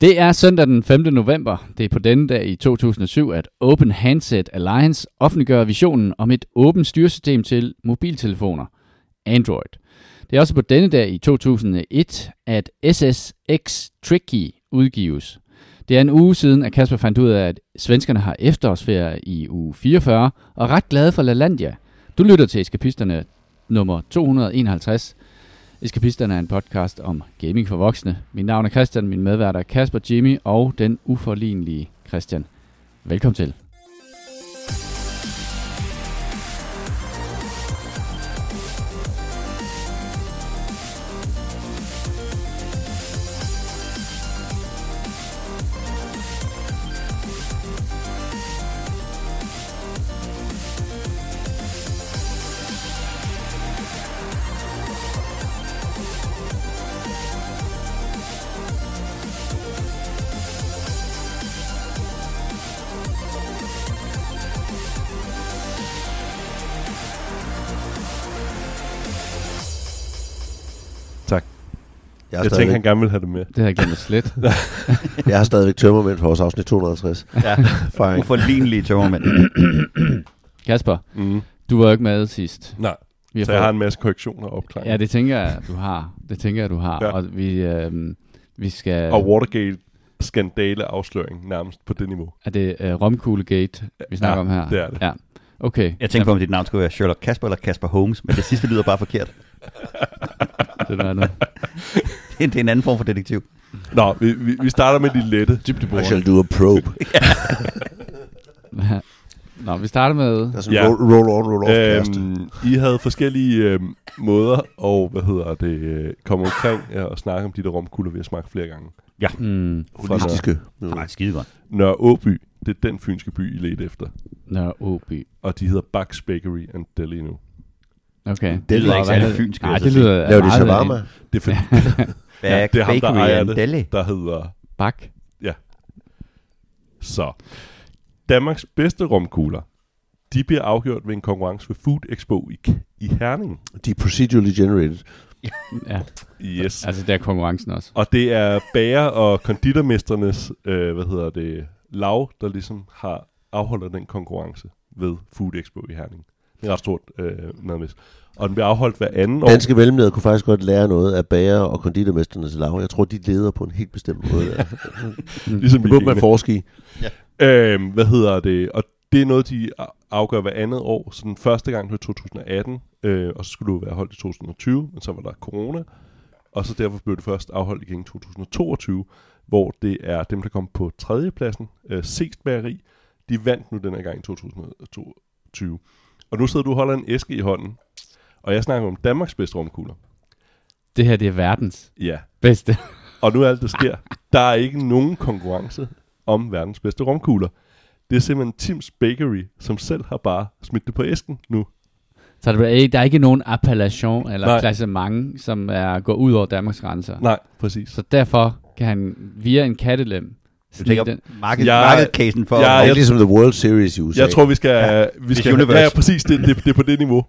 Det er søndag den 5. november. Det er på denne dag i 2007, at Open Handset Alliance offentliggør visionen om et åbent styresystem til mobiltelefoner, Android. Det er også på denne dag i 2001, at SSX Tricky udgives. Det er en uge siden, at Kasper fandt ud af, at svenskerne har efterårsferie i uge 44, og er ret glade for LaLandia. Du lytter til Eskapisterne nummer 251. Eskapisterne er en podcast om gaming for voksne. Mit navn er Christian, min medvært er Kasper Jimmy og den uforlignelige Christian. Velkommen til. Jeg, Jeg, har jeg stadigvæk, tænkte, han gerne ville have det med. Det har jeg glemt at slet. jeg har stadigvæk tømmermænd for vores afsnit 250. Ja. Fejring. Uforlignelige tømmermænd. Kasper, Mm. du var jo ikke med sidst. Nej, Vi så jeg har fået- en masse korrektioner og opklaring. Ja, det tænker jeg, du har. Det tænker jeg, du har. Ja. Ja. Og vi, øh, vi skal... Og Watergate-skandale-afsløring nærmest på det niveau. Er det øh, Romkuglegate, vi snakker Ja, om her? det er det. Ja. Okay, Jeg tænkte på, om dit navn skulle være Sherlock Kasper eller Kasper Holmes, men det sidste lyder bare forkert. det er noget andet. Det er- Det er en anden form for detektiv. Nå, vi, vi, vi starter med de lette. I shall do a probe. Nå, vi starter med... Der er sådan Ja. ja. Altså, roll, roll on, roll off øhm, Øhm, I havde forskellige øhm, måder og hvad hedder det, øh, komme omkring ja, og snakke om de der romkugler, vi har smagt flere gange. Mm, Fra Nør- Holistiske. Ja. Nej, skide godt. Nørre Åby, det er den fynske by, I ledte efter. Nørre Åby. Og de hedder Bucks Bakery and Deli nu. Okay. Det lyder ikke særlig hvad- fynsk, altså. vil Nej, det lyder... jeg så sige. Laver de meget- shawarma? Det er, fordi, Back, det er ham, der bakery ejer and det. deli. der hedder Bak. Så. Danmarks bedste romkugler, de bliver afgjort ved en konkurrence ved Food Expo i, i Herning. De er procedurally generated. Ja, Yes. altså der er konkurrencen også. Og det er bager- og konditormesternes, øh, hvad hedder det, lav, der ligesom har afholder den konkurrence ved Food Expo i Herning. Det er et ret stort øh, madmæs. Og den bliver afholdt hver anden år. Danske mellemledere kunne faktisk godt lære noget af bager- og konditormesternes lav. Jeg tror, de leder på en helt bestemt måde. der. ligesom Det i burde man Kina. forske i. Øhm, hvad hedder det? Og det er noget, de a- afgør hver andet år. Så den første gang blev 2018, øh, og så skulle det jo være holdt i 2020, men så var der corona. Og så derfor blev det først afholdt igen i 2022, hvor det er dem, der kom på tredjepladsen, øh, Seest Bageri. De vandt nu den her gang i 2022. Og nu sidder du og holder en æske i hånden, og jeg snakker om Danmarks bedste rumkugler. Det her, det er verdens Ja, bedste. og nu er alt, der sker. Der er ikke nogen konkurrence om verdens bedste romkugler. Det er simpelthen Tim's Bakery, som selv har bare smidt det på æsken nu. Så der er ikke- der er ikke nogen appellation eller Nej. klassement, som er går ud over Danmarks grænser. Nej, præcis. Så derfor kan han via en kattelem Du snige tænker den. market, Jeg- market-casen for... jeg- Det er jeg- ikke ligesom The World Series i USA. Jeg tror, vi skal... Ja, vi Miss skal Universe. ja, præcis. Det, det, det er på det niveau.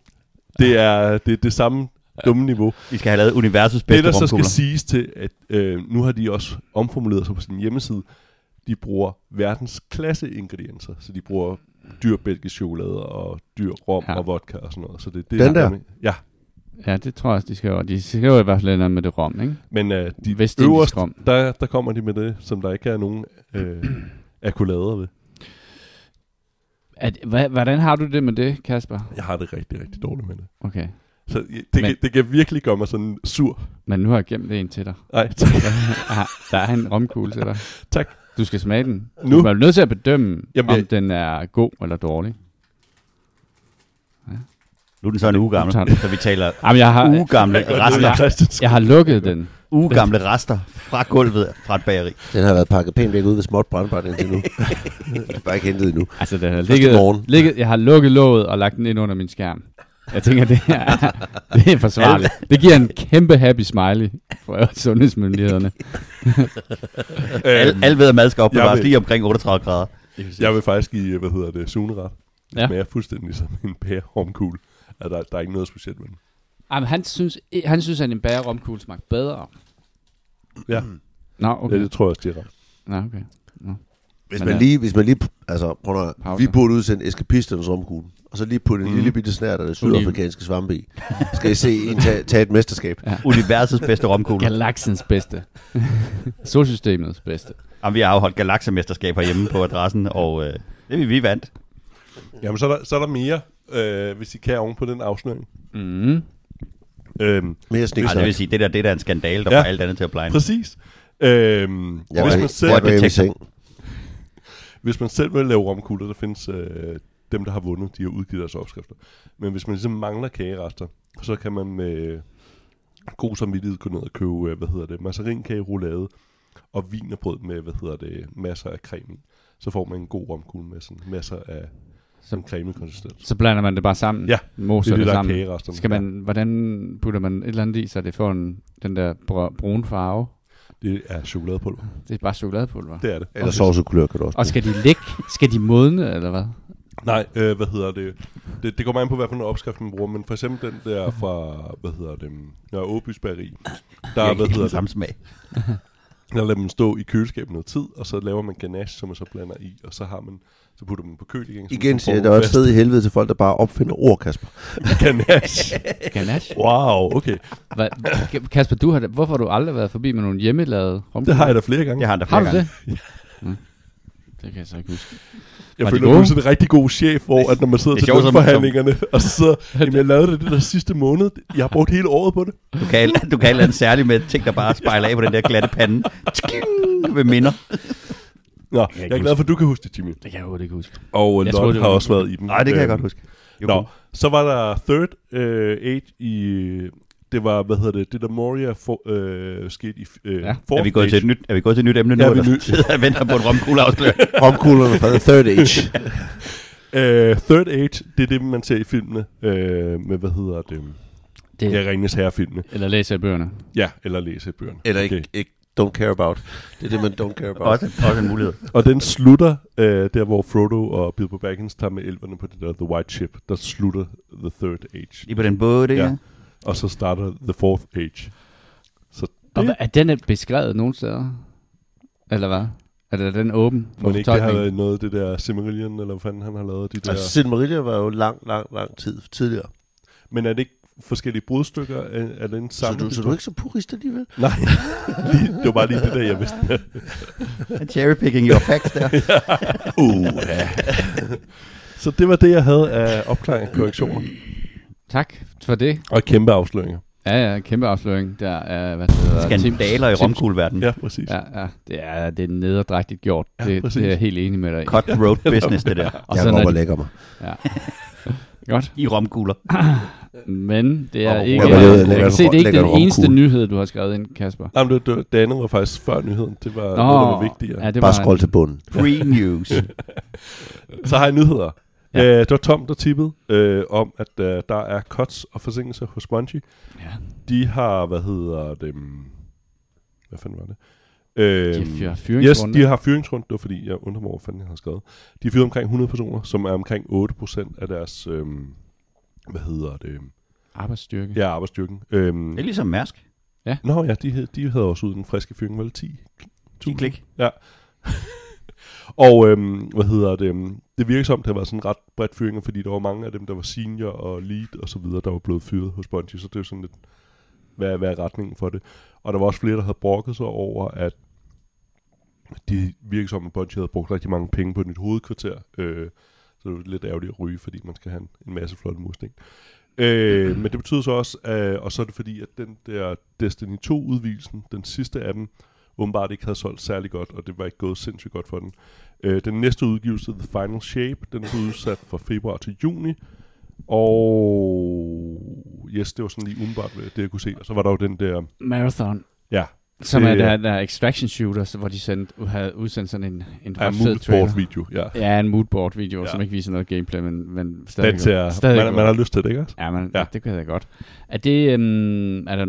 Det er det, det samme dumme niveau. Vi skal have lavet universets Det, bedste der så skal rumkugler. siges til, at øh, nu har de også omformuleret sig på sin hjemmeside. De bruger verdensklasse ingredienser, så de bruger dyr belgisk chokolade og dyr rom Ja. ja. og vodka og sådan noget. Så det, det Den der? Ja, Ja, det tror jeg også, de skriver. De skriver i hvert fald noget med det rom, ikke? men øh, de Vestindisk øverst rom. der, der kommer de med det, som der ikke er nogen øh, akkulader ved. At, hva, hvordan har du det med det, Kasper? Jeg har det rigtig, rigtig dårligt med det. Okay. Så jeg- det, Men- kan, det kan virkelig gøre mig sådan sur. Men nu har jeg gemt en til dig. Nej, tak. Ah, der er en romkugle til dig. Tak. Du skal smage den. Nu. Du er nødt til at bedømme, Jamen, Jamen, om jeg- den er god eller dårlig. Nu er den så en uge gammel, Nu tager den. så vi taler Jamen, jeg har, uge gamle rester, jeg har lukket den. uge gamle rester fra gulvet fra et bageri. Den har været pakket pænt væk ud ved småt brandbart indtil nu. det er bare ikke hentet endnu. Altså, den har ligget, morgen. ligget, jeg har lukket låget og lagt den ind under min skærm. Jeg tænker, det er, det er forsvarligt. Det giver en kæmpe happy smiley for sundhedsmyndighederne. Al, øhm, al ved at mad skal jeg opbevares vil- lige omkring 38 grader. jeg vil faktisk give, hvad hedder det, suneret. Ja. Ja. Men jeg er fuldstændig som en pærehormkugle. At der, der er ikke noget specielt ved den. Jamen, han synes, han synes, at en bageromkugle smagte bedre. Ja. Nå, Okay. Ja, Mm. okay. det tror jeg også, de har ret. Nej, okay. Men Hvis man, ja. lige, hvis man lige, altså prøv nu, at høre, Pause. vi burde udsende eskapisternes rumkugle, og så lige putte en Mm. lille bitte snært af det Oliven. sydafrikanske svampe i. Skal I se en tage, tage et mesterskab? Universets bedste romkugle. Galaksens bedste. Solsystemets bedste. Jamen, vi har afholdt galaksemesterskab herhjemme på adressen, og øh, det vi, vi vandt. Jamen, så er der, så er der mere, øh, hvis I kan oven på den afsløring. Mm. Øhm, Mere Ej, det sniksnak. vil sige, det der, det der er en skandale, der Ja. ja. får alt andet til at blegne. præcis. Øhm, Jeg hvis, var, man jeg selv, var hjemme i detektor. seng. hvis man selv vil lave romkugler, der findes øh, dem, der har vundet, de har udgivet deres opskrifter. Men hvis man ligesom mangler kagerester, så kan man med øh, god samvittighed gå ned og købe, øh, hvad hedder det, masserinkage, roulade og vinerbrød med, hvad hedder det, masser af creme i. Så får man en god romkugle med sådan masser af Så, sådan creme konsistens. så blander man det bare sammen. Ja, Moser Det er det, det, der er sammen. kageresterne. Skal man, hvordan putter man et eller andet i, så det får en, den der br- brune farve? Ja, det er chokoladepulver. Det er bare chokoladepulver. Det er det. Eller sovsekulør kan du også. Og skal de ligge? Skal de modne, eller hvad? Nej, øh, hvad hedder det? det? Det kommer an på, hvad for en opskrift man bruger, men for eksempel den der fra, hvad hedder det, Nørre Åbys Bageri, der, hvad hedder det, samme smag. der lader man stå i køleskabet noget tid, og så laver man ganache, som man så blander i, og så har man, så putter man på køl igen. så Igen man får siger jeg, der er et fast sted i helvede til folk, der bare opfinder ord, Kasper. Ganache. Ganache? Wow, okay. Hvad? Kasper, du har, da- hvorfor har du aldrig været forbi med nogle hjemmelavede Det romkugler? har jeg da flere gange. Jeg har den der Har flere du gange. det? Mm. Det kan jeg så ikke huske. Jeg Var de føler, du er gode? sådan en rigtig god chef, hvor at når man sidder Det er til sjovt, som- lønforhandlingerne, og så sidder, jamen jeg lavede det, det der sidste måned, jeg har brugt hele året på det. Du kan, alt- du kan alt andet særligt med ting, der bare spejler af på den der glatte pande. Tking! Med minder. Nå, kan jeg ikke er glad for, at du kan huske det, Jimmy. Det kan jeg overhovedet ikke huske. Og Jeg jeg troede, det har var- også været i den. Nej, det kan jeg Øhm, godt huske. Jo. Nå, så var der Third øh, Age i... Det var, hvad hedder det, det der Moria for, øh, skete i øh, Ja. ja. Er vi, gået til et nyt, er vi gået til et nyt emne nu? Ja, vi er eller nyt. sidder jeg og venter på en romkugleafsløring. Romkuglerne fra The Third Age. Øh, Third Age, det er det, man ser i filmene øh, med, hvad hedder det, Det, ja, Ringens Herre-filmene. Eller læser jeg bøgerne. Ja, eller læse i bøgerne. Eller Okay. ikke, ikke don't care about. Det er det, man don't care about. Også, også en mulighed. Og den slutter øh, der, hvor Frodo og Bilbo Baggins tager med elverne på det der The White Ship. Der slutter The Third Age. Lige på den båd, det Ja. ja. Og så starter The Fourth Age. Og Det- hvad- er den beskrevet nogen steder? Eller hvad? Eller er den åben for Må det ikke det har fortolkning? været noget af det der Silmarillion, eller hvad fanden han har lavet? De der... Altså, Silmarillion var jo lang, lang, lang tid tidligere. Men er det ikke forskellige brudstykker af, af den Så samme? du, så du er ikke så purist alligevel? Nej, lige, det var bare lige det der, jeg vidste. Cherrypicking your facts der. Uh, ja. Så det var det, jeg havde af opklaring, korrektioner Tak for det. og kæmpe afsløringer. Ja, ja, kæmpe afsløring. Der er, hvad det hedder Skandaler i Tim- Mm. romkugleverdenen. Ja, præcis. Ja. Ja, ja, det er, det er nederdragtigt gjort. Ja, det, det, præcis. er jeg helt enig med dig i. Cutthroat business, det der. Og jeg sådan går er op og det. lægger mig. Godt, I romkugler. men det er Og ikke... hvor lækker- Jeg, lækker kan se, det er ikke lækker den eneste romkugle. nyhed, du har skrevet ind, Kasper. Jamen, det, det, det andet var faktisk før nyheden. Det var Nå, noget, der var vigtigere. ja, det var... Bare scroll til bunden. Free news. Så har jeg nyheder. Ja. Ja. Øh, det var Tom, der tippede øh, om, at øh, der er cuts og forsinkelser hos Bungie. Ja, De har, hvad hedder det... mm, Hvad fanden var det? Øh, de har Yes, fyringsrunde. de har fyringsrunde, det var fordi, jeg undrer mig, hvor fanden jeg har skrevet. De har fyret omkring 100 personer, som er omkring 8% af deres, øhm, hvad hedder det, Arbejdsstyrke. ja, arbejdsstyrken. Øhm, Det er ligesom Mærsk. Nå ja, de, hed- de havde også ud den friske fyring, vel 10. 10 klik. Og øhm, hvad hedder det, øhm, det virker som, det har været sådan ret bredt fyringer, fordi der var mange af dem, der var senior og lead og så videre, der var blevet fyret hos Bungie, så det er sådan lidt, hvad, hvad er retningen for det? Og der var også flere, der havde brokket sig over, at de virker som, at Bungie havde brugt rigtig mange penge på et nyt hovedkvarter, øh, så det er lidt ærgerligt at ryge, fordi man skal have en, en masse flotte mustang. Øh, men det betyder så også, øh, og så er det fordi, at den der Destiny 2-udvielsen, den sidste af dem, åbenbart ikke havde solgt særlig godt, og det var ikke gået sindssygt godt for den. Øh, den næste udgivelse, The Final Shape, den er blevet udsat fra februar til juni. Og yes, det var sådan lige umiddelbart, hvad- det jeg kunne se. Og så var der jo den der, Marathon. ja, Som Det- er der, der extraction shooters, hvor de sendte, havde udsendt sådan en, en ja ret fed trailer. moodboard video. Ja. Ja, en moodboard video, ja. Ja. som ikke viser noget gameplay, men, men stadig Den ser, stadig man, man har lyst til det, ikke også? Ja, man, ja. Ja. det kan jeg da godt. Er det, øhm, er der,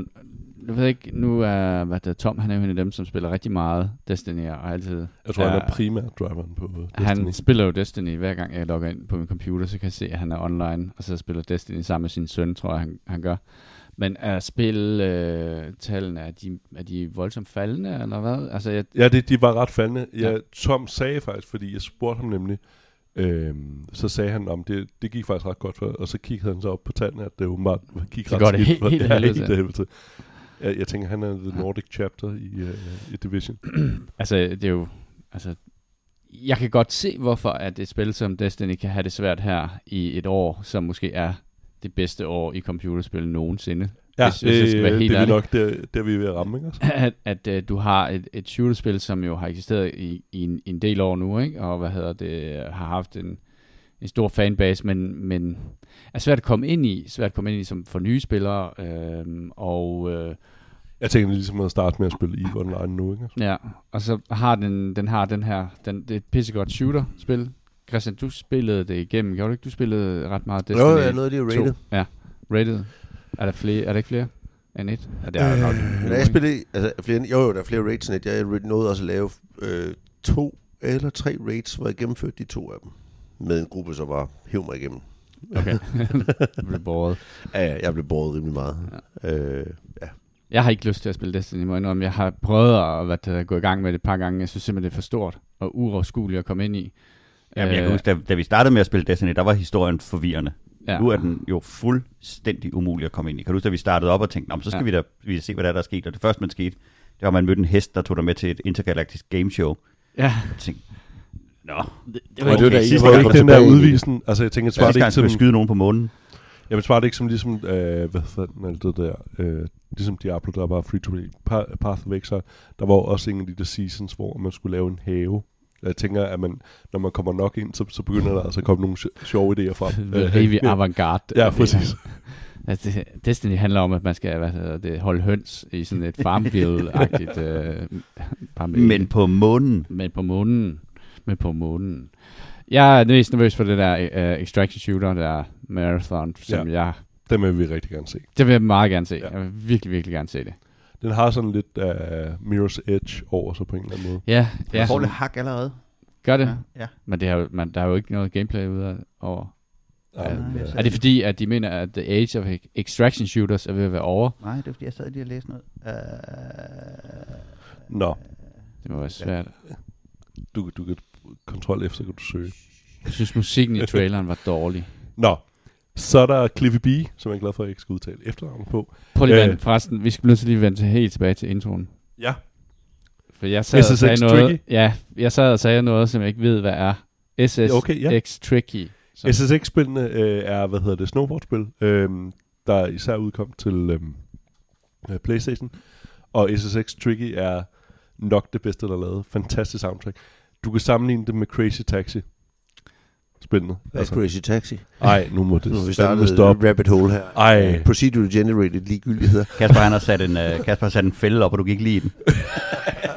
nu ved jeg ikke, nu er hvad det, er, Tom, han er jo en af dem, som spiller rigtig meget Destiny og altid. Jeg tror, Ja. ja. han er primært driveren på Destiny. Han spiller jo Destiny, hver gang jeg logger ind på min computer, så kan jeg se, at han er online, og så spiller Destiny sammen med sin søn, tror jeg, han, han gør. Men er spiltallene, er de, er de voldsomt faldende, eller hvad? Altså, jeg, Ja, det, de var ret faldende. Jeg, Ja. ja. Tom sagde faktisk, fordi jeg spurgte ham nemlig, øhm, så sagde han, om det, det gik faktisk ret godt for, og så kiggede han så op på tallene, at det åbenbart gik Så ret går det skidt helt- for- helt ja, helvede helt til. helvede til. Jeg, jeg tænker, han er the Nordic chapter i, uh, i Division. altså, det er jo... Altså, jeg kan godt se, hvorfor at et spil som Destiny kan have det svært her i et år, som måske er det bedste år i computerspil nogensinde. Ja, Hvis- hvis jeg skal være øh, helt det er vi ærlig. nok der, der vi er ved at ramme, ikke? også? at, at øh, du har et, et shooterspil, som jo har eksisteret i, i en, en del år nu, ikke? og hvad hedder det, har haft en, en stor fanbase, men, men er svært at komme ind i, svært at komme ind i som for nye spillere, øh, og øh, Jeg tænker ligesom at starte med at spille EVE Online nu, ikke? ja, og så har den, den har den her, den, det er et pissegodt shooter-spil. Christian, du spillede det igennem, gjorde du ikke? Du spillede ret meget Destiny Jo, jeg nåede lige at to. rate. Ja, rated. Er der, flere, er der ikke flere end et? Ja, det er der nok. Men jeg spillede, altså flere, jo jo, der er flere raids end et. Jeg nåede også at lave øh, to eller tre raids, hvor jeg gennemførte de to af dem. Med en gruppe, som var hæv mig igennem. Okay, jeg blev bored. Ja, ja, jeg blev båret rimelig meget. Ja. Øh, Jeg har ikke lyst til at spille Destiny, må jeg indrømme. Jeg har prøvet at hvad det, hedder, gå i gang med det et par gange. Jeg synes simpelthen, det er for stort og uoverskueligt at komme ind i. Øh, Jamen, Øh. jeg kan huske, da, da vi startede med at spille Destiny, der var historien forvirrende. ja. Ja. Nu er den jo fuldstændig umulig at komme ind i. Kan du huske, da vi startede op og tænkte, "Nå, men så skal Ja. ja. vi da vi skal se, hvad der er, der er sket. Og det første, man skete, det var, at man mødte en hest, der tog dig med til et intergalaktisk gameshow. ja. Jeg tænkte, nå, det, det var ikke- sidste var gang, gang, det kom ikke den der tilbage i det. udvisen? Altså, jeg tænker, sidste svarer det gang ikke skulle jeg som... skyde nogen på månen. Jamen, svarer det ikke som ligesom... Øh, hvad fanden er det der? Øh, ligesom Diablo, der var free-to-play. Pa- Path of Exile. Der var også en af de der seasons, hvor man skulle lave en have. Jeg tænker, at man, når man kommer nok ind, så, så begynder der altså at komme nogle sj- sjove idéer frem. The heavy avantgarde. Ja, præcis. Altså, det- Destiny handler om, at man skal hvad hedder det, holde høns i sådan et farmville-agtigt... øh, parmel. Men på månen, Men på månen. Men på månen. Jeg er mest nervøs for det der uh, Extraction Shooter, der Marathon, som ja. jeg... Dem vil vi rigtig gerne se. Det vil jeg meget gerne se. Ja. Jeg vil virkelig, virkelig gerne se det. Den har sådan lidt uh, Mirror's Edge over sig på en eller anden måde. Ja, ja. ja. får lidt hak allerede. gør det. Ja. ja. Men det har, jo- man, der er jo ikke noget gameplay ud af over. Ja, nej, men, jeg øh, ser Er Ah, det fordi, at de mener, at The Age of Extraction Shooters er ved at være over? Nej, det er fordi, jeg sad lige og læste noget. Uh... Nå, Det må være svært. Ja. du, du kan kontrol F, så kan du søge. Jeg synes, musikken i traileren var dårlig. Nå, så er der Cliffy B, som jeg er glad for, at jeg ikke skal udtale efternavnet på. Prøv lige Øh. øh. forresten. Vi skal nødt til lige vende til- helt tilbage til introen. Ja. For jeg sad og SSX sagde noget, Tricky? Ja, jeg sad og sagde noget, som jeg ikke ved, hvad er. SSX Okay, ja. Tricky. Som, SSX-spillene øh, er, hvad hedder det, snowboardspil, øh, der især udkom til øh, øh, Playstation. Og SSX Tricky er nok det bedste, der er lavet. Fantastisk soundtrack. Du kan sammenligne det med Crazy Taxi. Spillene. altså. Altså, Crazy Taxi. ej, nu må det Nu har vi fandme startet stoppe. et rabbit hole her. Ej. Procedural generated ligegyldigheder. Kasper, han har sat en, uh, Kasper har sat en fælde op, og du gik lige i den.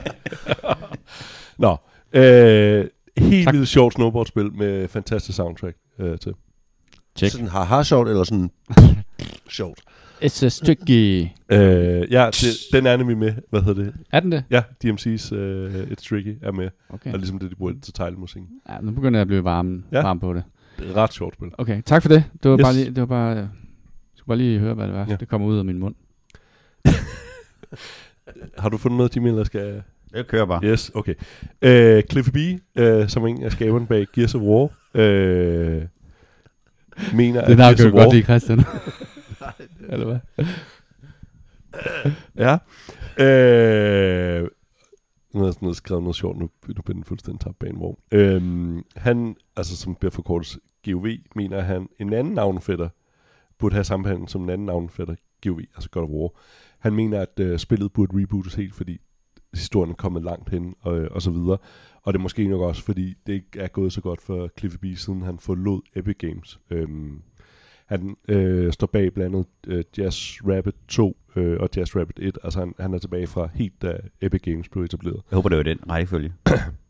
Nå, øh, helt Tak. vildt sjovt snowboardspil med fantastisk soundtrack øh, til. Check. Sådan haha sjovt, eller sådan sjovt. SSX Tricky. Øh, ja, det, den er nemlig med. Hvad hedder det? Er den det? Ja, DMC's øh, It's Tricky er med. Okay. Og ligesom det, de bruger til tegnmusikken. Ja, nu begynder jeg at blive varm, ja. Ja. varm på det. Det er et ret sjovt spil. Okay, tak for det. Det var Yes. bare lige... Det var bare, jeg skulle bare lige høre, hvad det var. Ja. Ja. Det kommer ud af min mund. Har du fundet noget, Jimmy, eller skal... Det kører bare. Yes, okay. Øh, Cliffy B, øh, som er en af skaberne bag Gears of War, øh, mener, Det navn at Gears kan of du godt War... lide, Christian. Eller hvad? Ja. Øh, nu har jeg sådan noget skrevet noget sjovt, nu, nu bliver den fuldstændig tabt bag en vogn. Øhm, han, altså som bliver forkortet GOV, mener han, en anden navnfætter burde have samme behandling som en anden navnfætter GOV, altså God of War. Han mener, at øh, spillet burde rebootes helt, fordi historien er kommet langt hen, og, øh, og så videre. Og det er måske nok også, fordi det ikke er gået så godt for Cliffy B, siden han forlod Epic Games. Øhm, han øh, står bag blandt andet øh, Jazz Rabbit 2 øh, og Jazz Rabbit 1. Altså han, han er tilbage fra helt da Epic Games blev etableret. Jeg håber, det var den rækkefølge.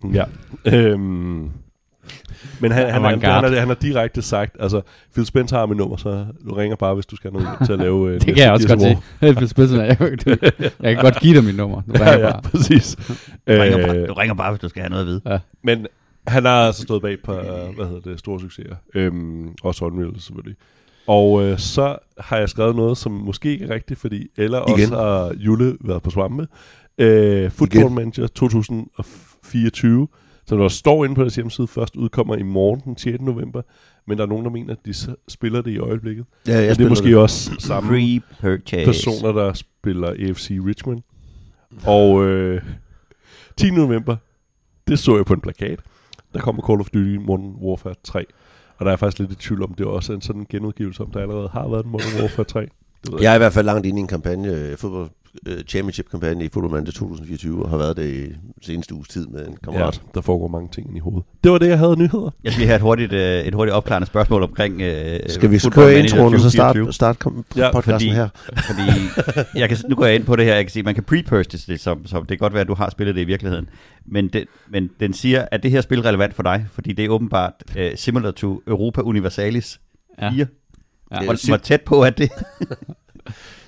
Mm. Ja. øhm, men han, han, han, Avantgarde. han, har, han har direkte sagt, altså Phil Spencer har mit nummer, så du ringer bare, hvis du skal have noget til at lave... Øh, Det næste kan jeg også Gears godt of se. War. Jeg vil spidsen af. Jeg, kan- jeg kan godt give dig mit nummer. Du Ja, ringer ja, bare. præcis. Du ringer, bare, Øh, du ringer bare, hvis du skal have noget at vide. Men han har altså stået bag på, øh, hvad hedder det, store succeser. Øhm, også Unreal selvfølgelig. Og øh, så har jeg skrevet noget, som måske ikke er rigtigt, fordi eller Igen. også har Jule været på svampe. Øh, Football Igen. Manager 2024, som der står inde på deres hjemmeside, først udkommer i morgen den 6. november. Men der er nogen, der mener, at de så spiller det i øjeblikket. Ja, jeg Men det er spiller måske det. også samme Pre-purchase. personer, der spiller AFC Richmond. Og øh, 10. november, det så jeg på en plakat. Der kommer Call of Duty Modern Warfare 3. Og der er faktisk lidt i tvivl om, det også er en sådan genudgivelse, om der allerede har været en Modern Warfare 3. Det ved Jeg er i hvert fald langt inde i en kampagne, øh, fodbold, øh, championship-kampagne i Football Manager 2024, og har været det i den seneste uges tid med en kammerat. Ja, der foregår mange ting inde i hovedet. Det var det, jeg havde af nyheder. Jeg skal lige have et hurtigt, øh, et hurtigt opklarende spørgsmål omkring øh, Skal vi Football køre Manager introen, og så 2024? starte, starte kom- Ja, podcasten fordi- her? Fordi jeg kan, nu går jeg ind på det her, jeg kan se, at man kan pre-purchase det, som, som det kan godt være, at du har spillet det i virkeligheden. Men, det, men den siger, at det her spil er relevant for dig, fordi det er åbenbart øh, similar to Europa Universalis 4. Ja. Ja. Ja, og var tæt på, at det...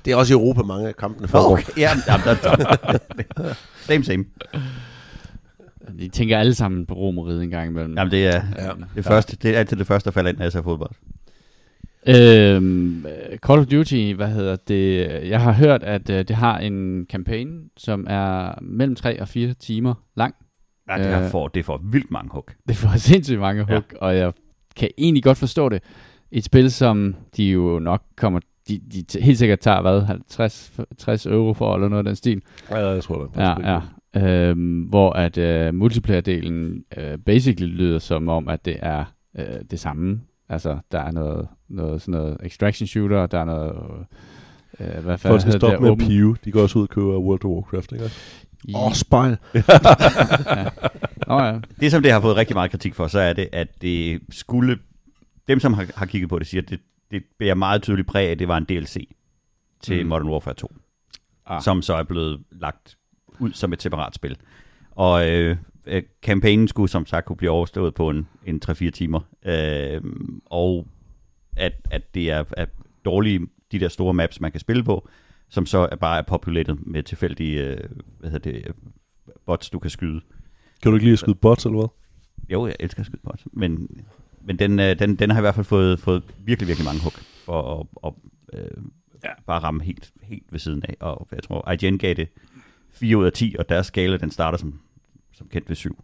Det er også i Europa, mange af kampene foregår. Okay, ja, jamen, der, der, same, same. De tænker alle sammen på romeriet en gang imellem. Jamen, det er, Ja. det, første, det er altid det første, der falder ind, når jeg ser fodbold. Øhm, Call of Duty, hvad hedder det? Jeg har hørt, at øh, det har en kampagne, som er mellem 3 og 4 timer lang. Ja, det, her Øh. får, det får vildt mange hug. Det får sindssygt mange Ja. hug, ja. og jeg kan egentlig godt forstå det. Et spil, som de jo nok kommer... De, de t- helt sikkert tager, hvad, 50, 60 euro for, eller noget af den stil. Ja, jeg tror det. Ja, ja. Øhm, hvor at øh, multiplayer-delen øh, basically lyder som om, at det er øh, det samme. Altså, der er noget, noget sådan noget extraction shooter, der er noget... Øh, hvad Folk fanden skal hedder stoppe det? med at Open... pive. De går også ud og køber World of Warcraft, ikke? Åh, spejl. Nå ja. Det, som det har fået rigtig meget kritik for, så er det, at det skulle... Dem, som har, har kigget på det, siger, at det, det bærer meget tydeligt præg af, at det var en DLC til Mm. mm. Modern Warfare 2, Ah. ah. som så er blevet lagt ud som et separat spil. Og øh, øh, kampagnen skulle som sagt kunne blive overstået på en, en 3-4 timer. Øh, og at, at det er, er dårlige, de der store maps, man kan spille på, som så er bare er populated med tilfældige øh, hvad hedder det, øh, bots, du kan skyde. Kan du ikke lige skyde bots, eller hvad? Jo, jeg elsker at skyde bots, men, men den, øh, den, den har i hvert fald fået, fået virkelig, virkelig mange hug for at, at, øh, ja. bare ramme helt, helt ved siden af. Og jeg tror, IGN gav det 4 ud af 10, og deres skala, den starter som, som kendt ved 7.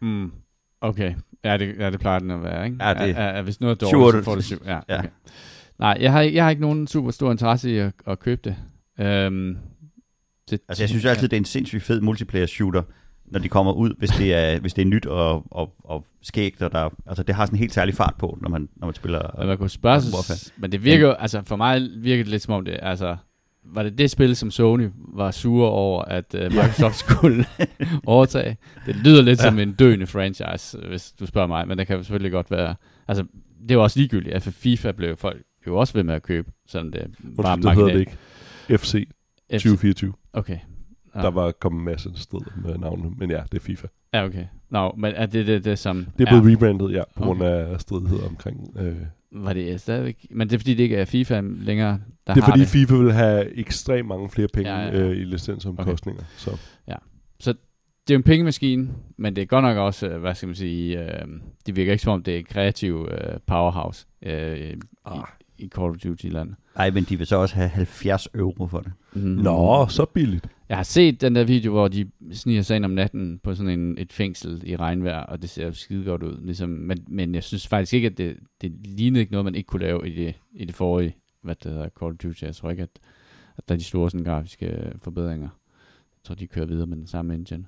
Mm. Okay. Ja det, ja, det plejer den at være, ikke? Ja, det- er, er, hvis noget er Syv, dårligt, så otte. får det syv. Ja, Ja. okay. Nej, jeg har, ikke- jeg har ikke nogen super stor interesse i at, at købe det. Øhm, det Altså, jeg synes jo altid, det er en sindssygt fed multiplayer shooter, når de kommer ud, hvis det er, hvis det er nyt og, og, og skægt, og der, altså, det har sådan en helt særlig fart på, når man, når man Men spiller. man kunne spørge sig, Warfare. men det virker jo, altså for mig virker det lidt som om det, altså, var det det spil, som Sony var sure over, at uh, Microsoft skulle overtage? Det lyder lidt ja. som en døende franchise, øh, hvis du spørger mig, men det kan jo selvfølgelig godt være, altså, det er jo også ligegyldigt, at for FIFA blev folk jo også ved med at købe, selvom det var Undskyld, det hedder det ikke. FC ikke. 2024. Okay. Ja. Der var kommet en masse strid med navnene, men ja, det er FIFA. Ja, okay. Nå, men er det det, det som... Det er blevet rebrandet, ja, på Okay. grund af stridigheder omkring... Øh, Var det stadigvæk... Men det er fordi, det ikke er FIFA længere, der det er har fordi det. FIFA vil have ekstremt mange flere penge Ja, ja, ja, ja, ja. Øh, i licensomkostninger. Okay. Så det er jo en pengemaskine, men det er godt nok også, øh, hvad skal man sige, øh, det virker ikke som om, det er et kreativ øh, powerhouse øh, ah. Ah. i, i Call of Duty-land. Nej, men de vil så også have 70 euro for det. Mm. Nå, så billigt. Jeg har set den der video, hvor de sniger sig ind om natten på sådan en, et fængsel i regnvejr, og det ser jo skide godt ud. Ligesom, men, men jeg synes faktisk ikke, at det, det lignede ikke noget, man ikke kunne lave i det, i det forrige, hvad det hedder, Call of Duty. Jeg tror ikke, at, at der er de store sådan, grafiske øh, forbedringer. Jeg tror, de kører videre med den samme engine.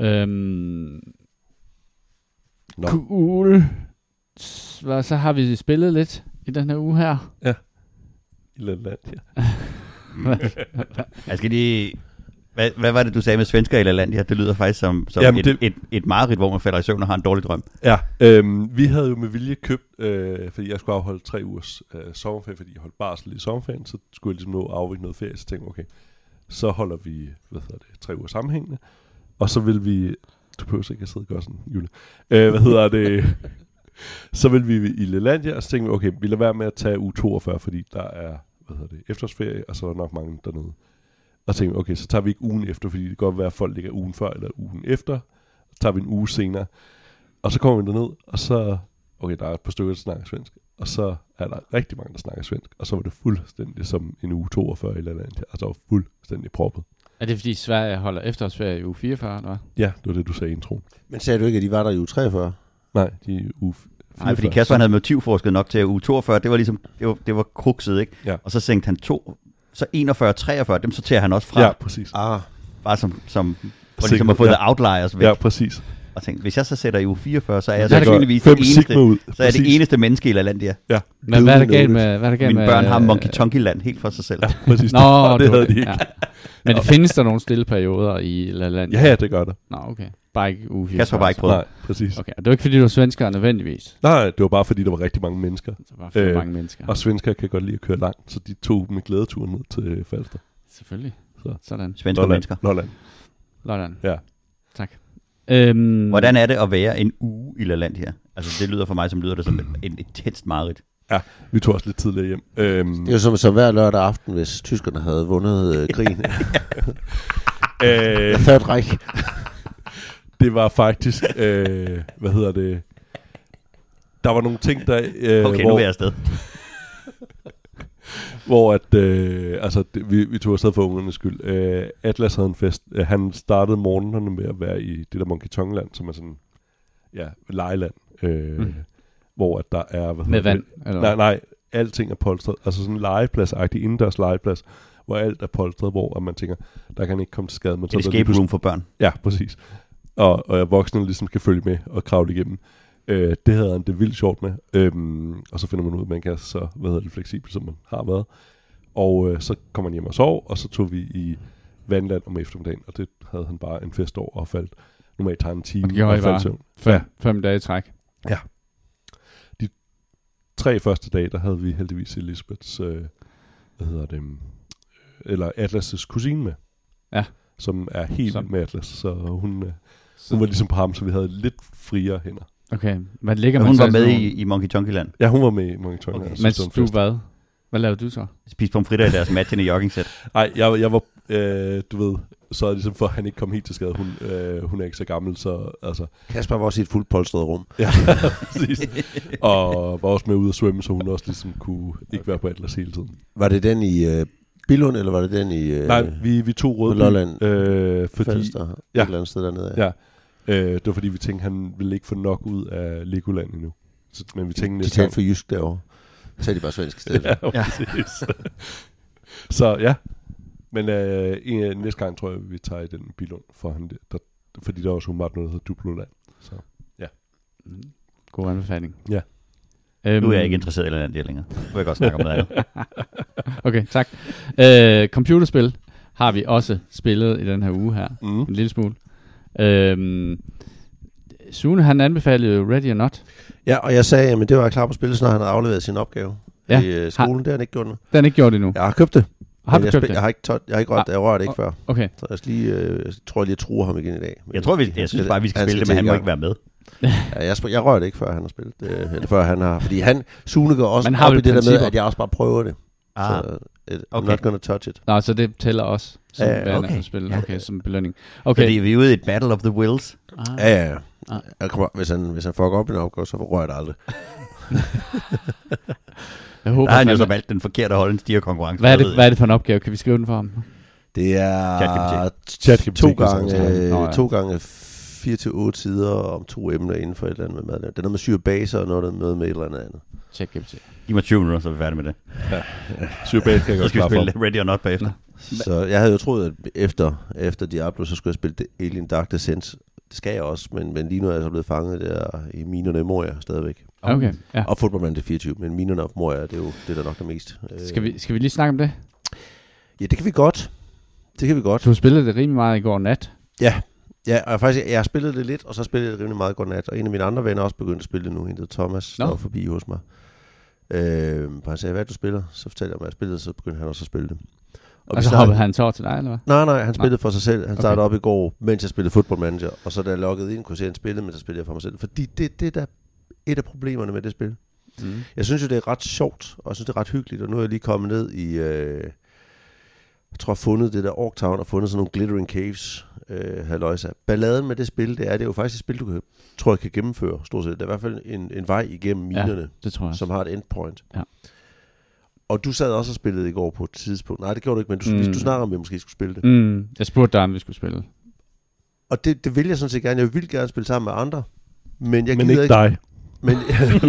Øhm, Nå. Cool. S- Hvad, så har vi spillet lidt i den her uge her. Irlandia. Jeg skal lige... Hvad, hvad var det, du sagde med svensker i Lalandia? Det lyder faktisk som, som Jamen, et, det... det- et, et mareridt, hvor man falder i søvn og har en dårlig drøm. Ja, øhm, vi havde jo med vilje købt, øh, fordi jeg skulle afholde tre ugers øh, sommerferie, fordi jeg holdt barsel i sommerferien, så skulle jeg ligesom nå at afvikle noget ferie, så tænkte jeg, okay, så holder vi, hvad hedder det, tre uger sammenhængende, og så vil vi, du behøver ikke at sidde og gøre sådan, Jule, øh, hvad hedder det, så vil vi i Lelandia, og så tænkte vi, okay, vi lader være med at tage u 42, fordi der er, hvad hedder det, efterårsferie, og så er der nok mange dernede. Og så tænkte vi, okay, så tager vi ikke ugen efter, fordi det kan godt være, at folk ligger ugen før eller ugen efter, så tager vi en uge senere, og så kommer vi derned, og så, okay, der er et par stykker, der snakker svensk, og så er der rigtig mange, der snakker svensk, og så var det fuldstændig som en uge 42 eller andet, altså det var fuldstændig proppet. Er det fordi Sverige holder efterårsferie i uge 44, eller hvad? Ja, det var det, du sagde i introen. Men sagde du ikke, at de var der i uge 43? Nej, de er uge Nej, fordi 44. Kasper han havde motivforsket nok til at uge 42, det var ligesom, det var, det var krukset, ikke? Ja. Og så sænkte han to, så 41, 43, dem sorterer han også fra, ja. Ja, præcis. Ah, bare som, som for ligesom Sigma, at få ja. ja. outliers væk. Ja, Ja. præcis. Og tænkte, hvis jeg så sætter i uge 44, så er jeg Ja, det gør sandsynligvis det Fem eneste, sigma ud. så er jeg det Præcis. eneste menneske i Lalandia. Men hvad er der galt Note. med... Hvad er der galt Mine med, børn har øh, Monkey Tonky Land helt for sig selv. Ja, præcis. Nå, Og det du- havde de ikke. Ja. Men det findes der nogle stille perioder i Lalandia? Ja, ja, det gør det. Nå, okay. Bare ikke uge 44. Kasper var ikke prøvet. Nej, præcis. Okay, og det var ikke fordi, du var svensker nødvendigvis. Nej, det var bare fordi, der var rigtig mange mennesker. Der var for Øh, mange mennesker. Og svensker kan godt lide at køre langt, så de tog med glædeturen ned til Falster. Selvfølgelig. Så. Sådan. Svenske mennesker. Lolland. Lolland. Ja. Tak. Øhm, Hvordan er det at være en uge i Laland her? Altså det lyder for mig, som lyder det som en, en intenst mareridt. Vi tog også lidt tidligere hjem. Øhm, det er jo som, som hver lørdag aften, hvis tyskerne havde vundet øh, krigen. øh, Third Reich. det var faktisk, øh, hvad hedder det, der var nogle ting, der, øh, Okay, nu hvor, er jeg afsted. hvor at, øh, altså, det, vi, vi tog afsted for ungernes skyld. Øh, Atlas havde en fest. Øh, han startede morgenerne med at være i det der Monkey Tongue-land, som er sådan, ja, lejeland. Øh, Mm. mm. Hvor at der er, Med hvad hedder det? vand? Eller? Nej, nej, alting er polstret. Altså sådan en legepladsagtig indendørs legeplads, hvor alt er polstret, hvor at man tænker, der kan ikke komme til skade. Men Et er der lige escape room for børn. Ja, præcis. Og, og voksne ligesom skal følge med og kravle igennem. Øh, det havde han det vildt sjovt med. Øhm, og så finder man ud af, at man kan så hvad hedder det, fleksibel, som man har været. Og øh, så kom han hjem og sov, og så tog vi i vandland om eftermiddagen, og det havde han bare en fest over og faldt. Normalt tager han en time Og det gjorde I faldt i bare? søvn. Fem, Ja. fem dage i træk. Tre første dage, der havde vi heldigvis Elisabeths, øh, hvad hedder det, øhm, eller Atlas' kusine med. Ja. Som er helt Som- som. med Atlas, så hun, øh, Så, hun var ligesom på ham, så vi havde lidt friere hænder. okay, hvad ligger man Hun så var med sådan i, i Monkey Tonky Land. Ja, hun var med i Monkey Tongue. Okay. Okay. nogle- Mens du hvad? Hvad lavede du så? Spiste pomfritter i deres matchende jogging-sæt. Nej, jeg, jeg var, øh, du ved, så er ligesom for, at han ikke kom helt til skade. Hun, øh, hun er ikke så gammel, så altså, Kasper var også i et fuldt polstret rum. ja, præcis. Og var også med ude at svømme, så hun også ligesom kunne ikke være på Atlas hele tiden. Var det den i øh, Billund, eller var det den i øh, Øh, Nej, vi, vi tog på røde Lolland? øh, fordi, Falster, ja. ja. et eller andet sted dernede. Ja. øh, det var fordi, vi tænkte, han ville ikke få nok ud af Legoland endnu. Så, men vi tænkte De næste talte gang. for jysk derovre. Så er de bare svensk i stedet. Ja, præcis. så ja, men øh, en- næste gang tror jeg, vi tager i den bilund for ham. Der, der, fordi der er også umiddelbart noget, der hedder Duploland. Så. God anbefaling. Ja. Øhm, Nu er jeg ikke interesseret i Laland her længere. Nu vil jeg godt snakke om noget andet. Okay, tak. Øh, computerspil har vi også spillet i den her uge her. Mm. En lille smule. Øhm, Sune, han anbefalede jo Ready or Not. Ja, og jeg sagde, at det var jeg klar på spillet, når han havde afleveret sin opgave Ja. ja. i øh, skolen. Det har han ikke gjort nu. Den er ikke gjort endnu. Ja, Jeg har købt det. har men du jeg, købt spil- den? jeg har ikke, tøjt, jeg har ikke rørt det. Jeg rørte det ikke før. Okay. Så jeg, skal lige, øh, jeg tror jeg lige, jeg truer ham igen i dag. Men Jeg tror, vi, jeg synes bare, vi skal spille det, men han må ikke være med. Ja, jeg, sp- jeg rører det ikke, før han har spillet det. øh, Eller før han har... Fordi han, Sune går også Man har op vel i det der med, principper. at jeg også bare prøver det. Ah, Så, uh, I'm okay. not gonna touch it. Nå, så det tæller også som Ja, ja, okay. okay. spil. Ja. Okay, som belønning. okay. Okay. Fordi vi er ude i et Battle of the Wills. ah. Ja, ja, ja. Ah. Jeg kommer, hvis, han, hvis han fucker op i en opgave, så rører jeg det aldrig. Jeg Der håber, har han jo fandme- så valgt den forkerte holde en konkurrence. hvad, er det, hvad er det for en opgave? Kan vi skrive den for ham? Det er ChatGPT. ChatGPT, to kan jeg gange, sagtens regne. Nå, ja. øh, to gange 4 til 8 sider om to emner inden for et eller andet med mad. Det er noget med syre baser og noget noget med et eller andet andet. Check GPT. Giv mig 20 minutter, så er vi færdige med det. Syrbæt kan jeg Så godt skal vi klare for. spille Ready or Not bagefter. Så jeg havde jo troet, at efter, efter Diablo, så skulle jeg spille The Alien Dark Descent. Det skal jeg også, men, men lige nu er jeg så blevet fanget der i minerne af Moria stadigvæk. Okay, ja. Og Football Manager 24, men minerne af Moria, det er jo det, der nok er mest. Øh, Skal vi, skal vi lige snakke om det? Ja, det kan vi godt. Det kan vi godt. Du spillede det rimelig meget i går nat. Ja, og jeg, faktisk, jeg har spillet det lidt, og så spillede jeg det rimelig meget godt nat. Og en af mine andre venner er også begyndt at spille det nu, en der hedder Thomas, Nå. der var forbi hos mig. Øh, han sagde, hvad er det, du spiller? Så fortalte jeg mig, at jeg spillede, så begyndte han også at spille det. vi Og så snakkede- hoppede han så over til dig, eller hvad? Nej, nej, han spillede for sig selv. Han Okay. startede okay. op i går, mens jeg spillede Football Manager. Og så da jeg loggede ind, kunne jeg se, at han spillede, men så spillede jeg for mig selv. Fordi det, det er da et af problemerne med det spil. Mm. Jeg synes jo, det er ret sjovt, og jeg synes, det er ret hyggeligt. Og nu er jeg lige kommet ned i... Øh, jeg tror, fundet det der Orktown og fundet sådan nogle Glittering Caves øh, haløjsa. Balladen med det spil, det er, det er jo faktisk et spil, du kan, tror jeg kan gennemføre stort set. Der er i hvert fald en, en vej igennem Ja. minerne, Det tror jeg. ja. Som, som har et endpoint. Ja. Og du sad også og spillede i går på et tidspunkt. Nej, det gjorde du ikke, men du, Mm. mm. du snakker om, at vi måske skulle spille det. mm, jeg spurgte dig, om vi skulle spille. Og det, det vil jeg sådan set gerne. Jeg vil gerne spille sammen med andre. Men jeg Men gider ikke ikke, dig. men,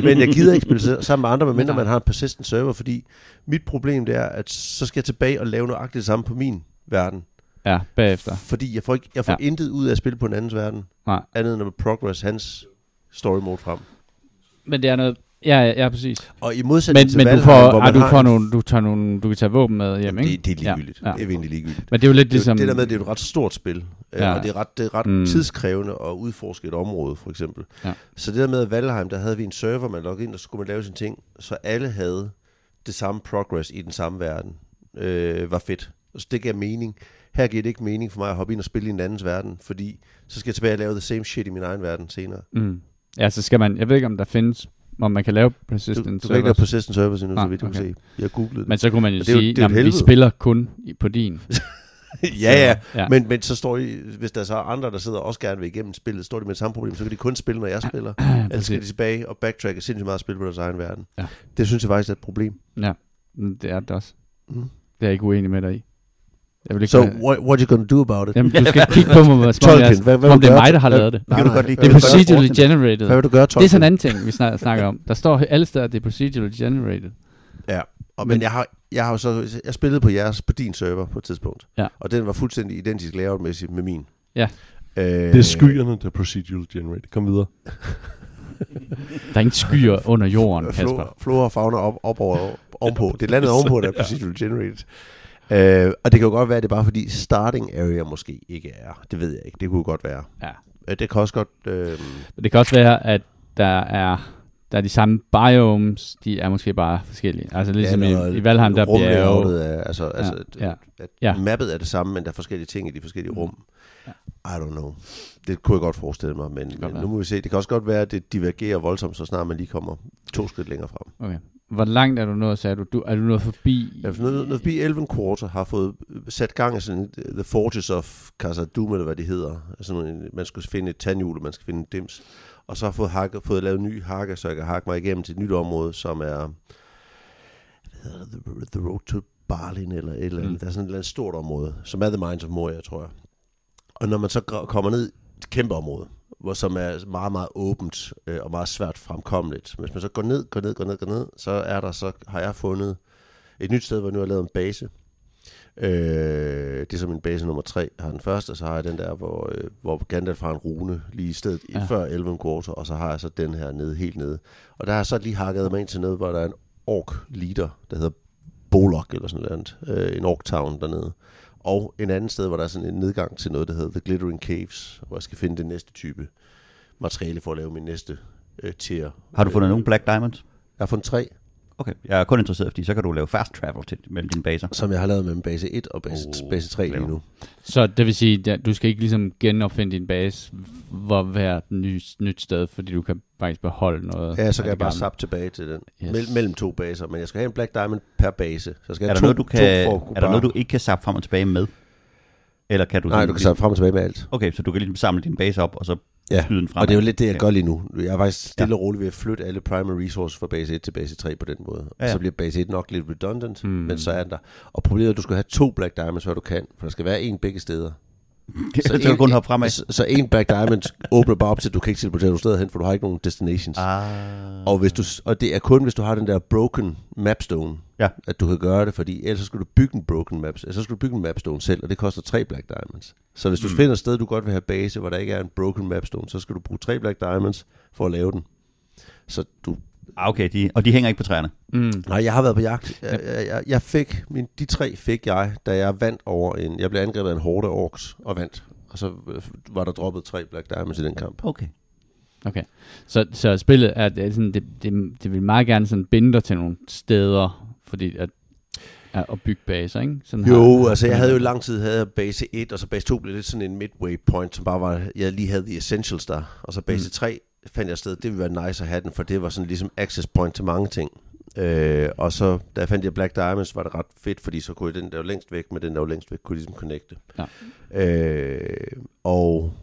men jeg gider ikke spille sa- sammen med andre, medmindre Nej. man har en persistent server, fordi mit problem det er, at så skal jeg tilbage og lave nøjagtigt det samme på min verden. Ja, bagefter. Fordi jeg får, ikke, jeg får ja. intet ud af at spille på en andens verden, Nej. andet end at progress hans story mode frem. Men det er noget... Ja, ja, ja præcis. Og i modsætning Men, til men du Valheim, får, hvor ah, man du har får en- nogle, du, tager nogle, du kan tage våben med hjem, ikke? det, det er ligegyldigt. Ja, Ja, ja. ja. Det er egentlig ligegyldigt. Men det er jo lidt Det, er jo- ligesom... det der med, at det er et ret stort spil, ja. Ja. og det er ret, det er ret Mm. mm. tidskrævende at udforske et område, for eksempel. Ja. Så det der med, at Valheim, der havde vi en server, man loggede ind, og så skulle man lave sine ting, så alle havde det samme progress i den samme verden, øh, var fedt. Så det gav mening. Her giver det ikke mening for mig at hoppe ind og spille i en andens verden, fordi så skal jeg tilbage og lave the same shit i min egen verden senere. Mm. Ja, så skal man... Jeg ved ikke, om der findes... Om man kan lave Du, persistent du kan ikke lave servers. persistent servers endnu, Nej, så vidt du okay. kan se. Jeg googlede det. Men så kunne man jo Og det er jo- sige, det er jo et at vi helvede." spiller kun i- på din. ja, ja. ja. Men, men så står I, hvis der så er andre, der sidder og også gerne vil igennem spillet, står de med det samme problem, så kan de kun spille, når jeg spiller. Ellers Altså, skal de præcis. tilbage og backtracke sindssygt meget og spille på deres egen verden. Ja. Det synes jeg faktisk er et problem. Men det er det også. Mm. Det er jeg ikke uenig med dig i. Jeg vil ikke So, være- what, what are you gonna do about it? Jamen, du skal kigge på mig, som om, jeg, Tolkien, hvad, hvad som om vil det du er gøre? mig, der har lavet det. Hvad vil du godt lide? Det er Hvad vil du gøre? procedurally generated. Hvad vil du gøre, Tolkien? Det er sådan en anden ting, vi snak- snakker om. Der står alle steder, at det er procedurally generated. Og, Men- men jeg har, jeg har jo så, jeg spillede på jeres, på din server på et tidspunkt. Ja. Og den var fuldstændig identisk layoutmæssigt med min. Ja. Øh, Det er skyerne, der procedural generate. Kom videre. Der er ingen skyer under jorden, Kasper. Flora, flora og fauna op, op over, ovenpå. Det er landet ovenpå, der er procedural generated. Øh, og det kan jo godt være, at det er bare fordi starting area måske ikke er. Det ved jeg ikke. Det kunne godt være. Ja. Øh, det kan også godt... Øh, Men det kan også være, at der er, der er de samme biomes, de er måske bare forskellige. Altså ligesom ja, i, i Valheim, der bliver jo... rumlayoutet er- Altså, ja, altså at, ja. ja. At Ja. Mm. ja. mappet er det samme, men der er forskellige ting i de forskellige rum. Ja. I don't know. Det kunne jeg godt forestille mig, men, godt men være. nu må vi se. Det kan også godt være, at det divergerer voldsomt, så snart man lige kommer to skridt længere frem. Okay. Hvor langt er du nået, sagde du? du er du nået forbi... Jeg noget, noget forbi 11 quarter har fået sat gang i sådan øh, The Forges of Casa Doom, eller hvad det hedder. Altså, en- man skal finde et tandhjul, og man skal finde en dims. Og så har jeg fået, hakket, fået lavet en ny hakke, så jeg kan hakke mig igennem til et nyt område, som er hvad hedder det, The, the Road to Barlin, eller et eller andet. Mm. Mm. Der er sådan et eller andet stort område, som er The Mines of Moria, tror jeg. Og når man så gra- kommer ned i et kæmpe område, hvor som er meget, meget åbent øh, og meget svært fremkommeligt. Hvis man så går ned, går ned, går ned, går ned, så er der så, har jeg fundet et nyt sted, hvor jeg nu har lavet en base. Øh, det er så min base nummer tre, Jeg har den første, og så har jeg den der, hvor, øh, hvor Gandalf har en rune lige i stedet Ja. ja. før 11 quarter, og så har jeg så den her nede, helt nede. Og der har jeg så lige hakket mig ind til nede, hvor der er en ork leader, der hedder Bolok eller sådan noget andet, øh, en ork town dernede. Og en anden sted, hvor der er sådan en nedgang til noget, der hedder The Glittering Caves, hvor jeg skal finde den næste type materiale for at lave min næste øh, tier. Har du fundet Øh, nogen Black Diamonds? Jeg har fundet tre, Okay, jeg er kun interesseret, fordi så kan du lave fast travel til, mellem dine baser. som jeg har lavet mellem base 1 og base, Oh, oh, base 3 lige clever. nu. Så det vil sige, at du skal ikke ligesom genopfinde din base, hvor hver ny, nyt sted, fordi du kan faktisk beholde noget. Ja, så af kan jeg det bare gamle. sappe tilbage til den. Yes. Yes. Mell- mellem to baser, men jeg skal have en Black Diamond per base. Så skal Er jeg der, to, noget, du kan, to for at kunne er der bare- noget, du ikke kan sappe frem og tilbage med? Eller kan du Nej, sådan du kan ligesom, sappe frem og tilbage med alt. Okay, så du kan ligesom samle din base op, og så Ja, skyde den frem. Og det er jo lidt det, jeg Ja. gør lige nu. Jeg er faktisk stille og roligt ved at flytte alle primary resources fra base 1 til base 3 på den måde. Ja, Ja, ja. Hmm. ja. Så bliver base 1 nok lidt redundant, Mm. mm. men så er den der. Og problemet er, at du skal have to Black Diamonds, hvad du kan, for der skal være en begge steder. så, så kan du kun hoppe fremad. Så, så en Black Diamond åbner bare op til, at du kan ikke teleportere nogen steder hen, for du har ikke nogen destinations. Ah. Mm. Og, hvis du, og det er kun, hvis du har den der broken mapstone, Ja. at du kan gøre det, fordi ellers så skal du bygge en broken map, så skal du bygge en mapstone selv, og det koster tre black diamonds. Så hvis du Mm. finder et sted, du godt vil have base, hvor der ikke er en broken mapstone, så skal du bruge tre black diamonds for at lave den. Så du... Ah, okay, de, og de hænger ikke på træerne. Mm. Nej, jeg har været på jagt. Jeg, jeg, jeg, jeg fik, min, de tre fik jeg, da jeg vandt over en... Jeg blev angrebet af en hårde orks og vandt. Og så øh, var der droppet tre black diamonds i den kamp. Okay. Okay. Så, så spillet er, det, er sådan, det, det, det vil meget gerne sådan binde dig til nogle steder, fordi at, at, at bygge baser, ikke? Sådan Jo, altså jeg havde jo i lang tid havde jeg base 1, og så base 2 blev lidt sådan en midway point, som bare var, jeg lige havde the essentials der. Og så base Mm. 3 fandt jeg et sted, det ville være nice at have den, for det var sådan ligesom access point til mange ting. Øh, og så, da jeg fandt jeg Black Diamonds, var det ret fedt, fordi så kunne jeg den, der var længst væk, med den, der var længst væk, kunne jeg ligesom connecte. Ja. Øh, og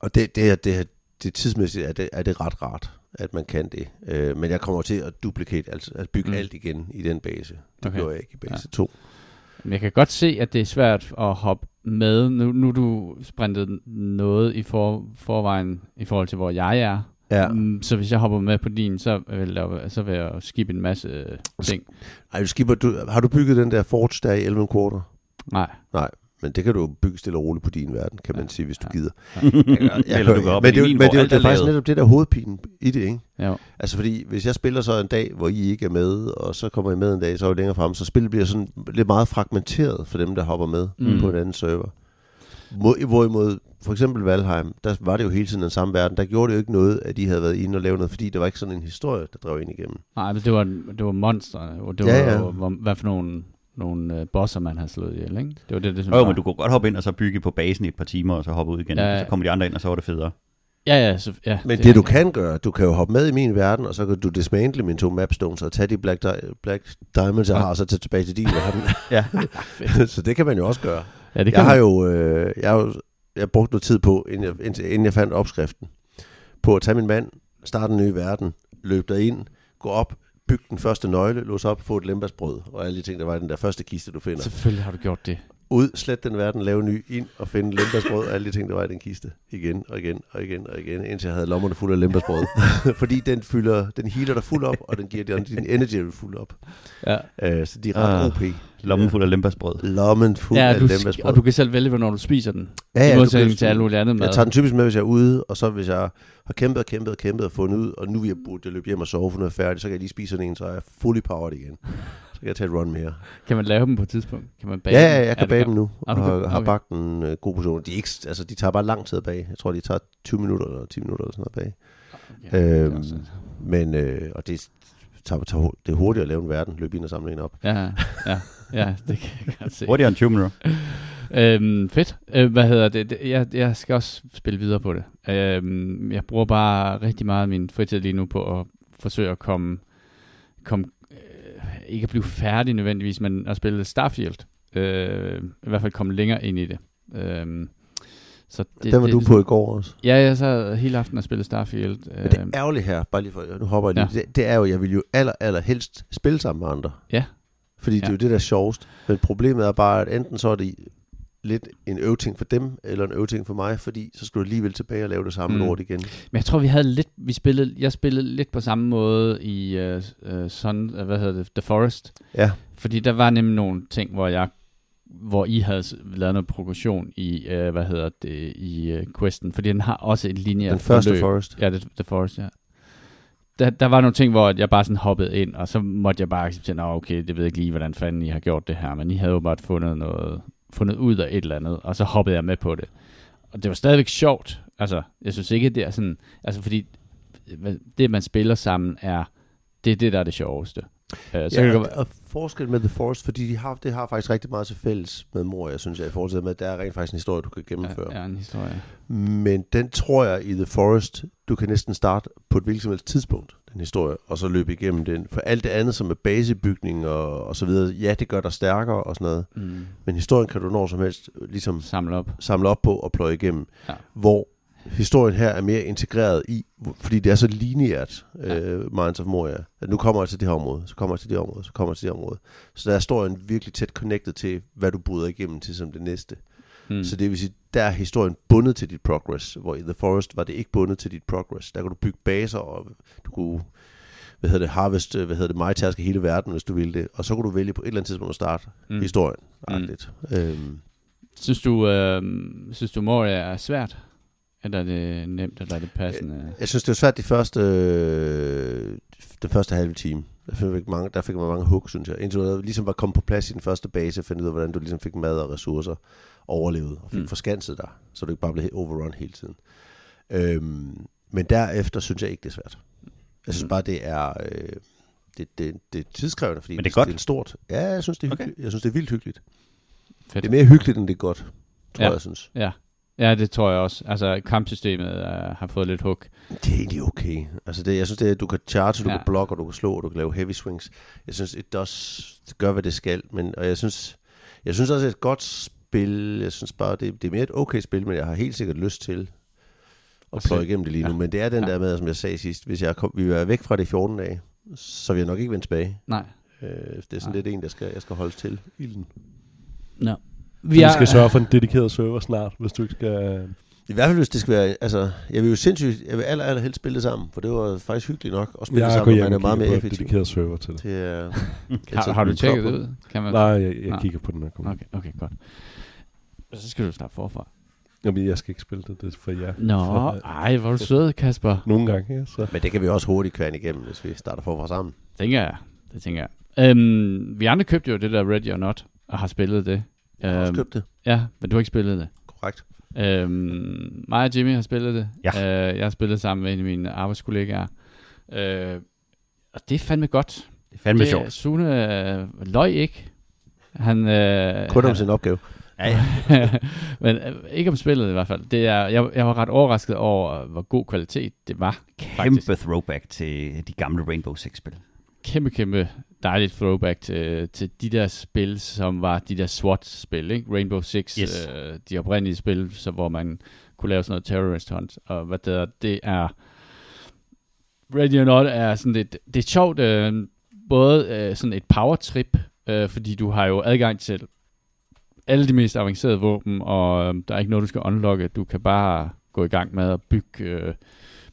og det, det, er- det, er- det tidsmæssigt er det, er det ret rart, at man kan det. Øh, men jeg kommer til at duplikate, altså at bygge Mm. mm. alt igen i den base. Det Okay. okay. gjorde jeg ikke i base 2. Men jeg kan godt se, at det er svært at hoppe med. Nu, nu er du sprintet noget i for, forvejen i forhold til, hvor jeg er. Ja. Mm, Så hvis jeg hopper med på din, så vil, der, så vil jeg jo skippe en masse øh, ting. Ej, du skipper, du, har du bygget den der Forge der i 11 quarter? Nej. Men det kan du jo bygge stille og roligt på din verden, kan man Ja, sige, hvis du ja. gider. Eller du går op men i det, er jo- min, men det, hvor er jo- alt det er er faktisk lavet. netop det der er hovedpinen i det, ikke? Jo. Altså fordi, hvis jeg spiller så en dag, hvor I ikke er med, og så kommer I med en dag, så er I længere frem, så spillet bliver sådan lidt meget fragmenteret for dem, der hopper med Mm. mm. på en anden server. Hvor- Hvorimod, for eksempel Valheim, der var det jo hele tiden den samme verden. Der gjorde det jo ikke noget, at de havde været inde og lavet noget, fordi der var ikke sådan en historie, der drev ind igennem. Nej, men det var, det var monster. Og det var Ja, ja. jo, hvor- hvad for nogle, nogle øh, bosser, man havde slået ihjel, ikke? Det var det, det som Jo, var. men du kunne godt hoppe ind og så bygge på basen i et par timer, og så hoppe ud igen. Ja, Ja. ja. Så kommer de andre ind, og så var det federe. Ja, ja. Så, ja Men det, det du kan gøre, du kan jo hoppe med i min verden, og så kan du dismantle mine to mapstones og tage de Black, di- Black Diamonds, jeg har, og så tage tilbage til din verden. Ja. så det kan man jo også gøre. Ja, det kan jeg har man. jo, øh, jeg har jo jeg brugte noget tid på, inden jeg, indtil- inden jeg fandt opskriften, på at tage min mand, starte en ny verden, løbe derind, gå op, bygge den første nøgle, låse op, få et lembasbrød, og alle de ting, der var i den der første kiste, du finder. Selvfølgelig har du gjort det. Ud, slet den verden, lave en ny, ind og finde lembasbrød, og alle de ting, der var i den kiste. Igen og igen og igen og igen, indtil jeg havde lommerne fulde af lembasbrød. Fordi den fylder, den healer dig fuld op, og den giver din, din energy fuld op. Ja, Øh, så de er ret Ah. OP. Lommen fuld af lembasbrød. Lommen fuld ja af du, sk- lembasbrød. og du kan selv vælge, hvornår du spiser den. Ja, I ja, du modsætning kan- til alle mulige andet mad. Jeg tager den typisk med, hvis jeg er ude, og så hvis jeg har kæmpet og kæmpet og kæmpet og fundet ud, og nu vil jeg burde jeg løbe hjem og sove, for nu er jeg færdig, så kan jeg lige spise sådan en, så er jeg fully powered igen. Så kan jeg tage et run mere. Kan man lave dem på et tidspunkt? Kan man bage Bage ja, dem? ja, jeg kan det bage dem nu, Ah, og du kan- har okay. bagt en øh, god portion. De, er ikke, altså, de tager bare lang tid at bage. Jeg tror, de tager 20 minutter eller 10 minutter eller sådan noget at bage. Ja, det er Øhm, også- Men, øh, og det tager, tager, hu- det er hurtigt at lave en verden, løbe ind og samle en op. Ja, ja, ja, det kan jeg godt se. Hurtigere end 20 minutter. Øhm, fedt. Øh, hvad hedder det? Det- Jeg, jeg skal også spille videre på det. Øhm, jeg bruger bare rigtig meget af min fritid lige nu på at forsøge at komme... komme øh, ikke at blive færdig nødvendigvis, men at spille Starfield. Øh, I hvert fald komme længere ind i det. Øhm, så det Den var det, ligesom- du på i går også. Ja, jeg sad hele aftenen og spillede Starfield. Men det Øhm, ærgerlige her, bare lige for, nu hopper jeg lige, ja. det, det er jo, jeg vil jo aller, aller helst spille sammen med andre. Ja. Fordi det Ja. er jo det, der er sjovest. Men problemet er bare, at enten så er det lidt en øvting for dem, eller en øvting for mig, fordi så skal du alligevel tilbage og lave det samme Mm. mm. lort igen. Men jeg tror, vi havde lidt, vi spillede, jeg spillede lidt på samme måde i uh, uh, Sun, uh, hvad hedder det, The Forest. Ja. Fordi der var nemlig nogle ting, hvor jeg, hvor I havde s- lavet noget progression i, uh, hvad hedder det, i uh, questen. Fordi den har også et linje Den første Forest. Ja, det, The Forest, ja. Der, der var nogle ting, hvor at jeg bare sådan hoppede ind, og så måtte jeg bare acceptere, at okay, det ved jeg ikke lige, hvordan fanden I har gjort det her, men I havde jo bare fundet noget, fundet ud af et eller andet, og så hoppede jeg med på det. Og det var stadigvæk sjovt. Altså, jeg synes ikke, det er sådan... Altså, fordi hvad- det, man spiller sammen, er... Det er det, der er det sjoveste. Uh, så ja, kan Ja, det, og, godt- og forskel med The Forest, fordi de har, det har faktisk rigtig meget til fælles med mor, jeg synes, jeg i forhold til det med, at der er rent faktisk en historie, du kan gennemføre. ja, ja, en historie. Men den tror jeg i The Forest, du kan næsten starte på et hvilket som helst tidspunkt, den historie, og så løbe igennem den. For alt det andet, som er basebygning og, og så videre, ja, det gør dig stærkere og sådan noget. Mm, Men historien kan du når som helst øh, ligesom samle op. samle op på og pløje igennem. Ja. Hvor historien her er mere integreret i, fordi det er så lineært, Ja. øh, Minds of Moria. At nu kommer jeg til det her område, så kommer jeg til det område, så kommer jeg til det område. Så der er historien virkelig tæt connected til, hvad du bryder igennem til som det næste. Mm. Så det vil sige, der er historien bundet til dit progress, hvor i The Forest var det ikke bundet til dit progress. Der kunne du bygge baser, og du kunne hvad hedder det, harvest, øh, hvad hedder det, majtaske hele verden, hvis du ville det. Og så kunne du vælge på et eller andet tidspunkt at starte mm. historien. Mm. Øhm, Synes du, øh, synes du Moria er svært? Eller er det nemt, eller er det passende? Øh, jeg synes, det var svært de første, øh, den første halve time. Der fik, jeg mange, der fik man mange hug, synes jeg. Indtil du ligesom var kommet på plads i den første base, fandt ud af, hvordan du ligesom fik mad og ressourcer, overlevede og fik Mm. mm. forskanset dig, så du ikke bare blev he- overrun hele tiden. Øhm, men derefter synes jeg ikke, det er svært. Jeg synes Mm. bare, det er... Øh, det, det, det er tidskrævende, fordi Men det er godt. det er stort. Ja, jeg synes, det er Okay. hyggeligt. Okay. Jeg synes, det er vildt hyggeligt. Fedt. Det er mere hyggeligt, end det er godt, tror Ja. ja. jeg, synes. Ja. Ja, det tror jeg også. Altså, kampsystemet øh, har fået lidt hug. Det er egentlig okay. Altså det, jeg synes, det er, at du kan charge, du Ja. ja. kan blokke, og du kan slå, og du kan lave heavy swings. Jeg synes, it does, det gør, hvad det skal. Men, og jeg synes, jeg synes også, det er et godt spil. Jeg synes bare, det, det er mere et okay spil, men jeg har helt sikkert lyst til at se. pløje igennem det lige nu. Ja. Men det er den Ja. der med, som jeg sagde sidst, hvis jeg kom, vi var væk fra det i 14 dage, så vil jeg nok ikke vende tilbage. Nej. Øh, det er sådan Nej. lidt en, der skal, jeg skal holde til. Ilden. No. Vi er, skal sørge for en dedikeret server snart, hvis du ikke skal... I hvert fald, hvis det skal være... Altså, jeg vil jo sindssygt... Jeg vil aller, aller helst spille det sammen, for det var faktisk hyggeligt nok at spille det Jeg går sammen, og man hjem er meget og mere kigger på en effektiv. dedikeret server til det. Det er... Har, har du tjekket det ud? Kan man... Nej, jeg, jeg Nej. kigger på den her kommentar. Okay, okay, godt. Så skal du starte forfra. Jamen, jeg skal ikke spille det, det er for jer. Nå, For, øh, ej, hvor er du sød, Kasper. Nogle gange, ja, så. Men det kan vi også hurtigt kværne igennem, hvis vi starter forfra sammen. Tænker jeg. Det tænker jeg. Øhm, vi andre købte jo det der Ready or Not, og har spillet det. Øhm, Jeg har også købt det. ja, men du har ikke spillet det. Korrekt. Øhm, mig og Jimmy har spillet det. Ja. Øh, jeg har spillet sammen med en af mine arbejdskollegaer. Øh, og det er fandme godt. Det er fandme det, sjovt. Sune øh, løg ikke. Han, øh, Kun om han- sin opgave. Ja, ja. Men øh, ikke om spillet i hvert fald. Det er, jeg, jeg var ret overrasket over, hvor god kvalitet det var. Kæmpe throwback til de gamle Rainbow Six-spil. Kæmpe, kæmpe dejligt throwback til, til de der spil, som var de der SWAT-spil. Ikke? Rainbow Six, Yes. øh, de oprindelige spil, så, hvor man kunne lave sådan noget terrorist hunt. Og hvad det er, det er... Radio Not er sådan lidt... Det er sjovt, øh, både øh, sådan et power-trip, øh, fordi du har jo adgang til alle de mest avancerede våben, og øh, der er ikke noget, du skal unlocke. Du kan bare gå i gang med at bygge, øh,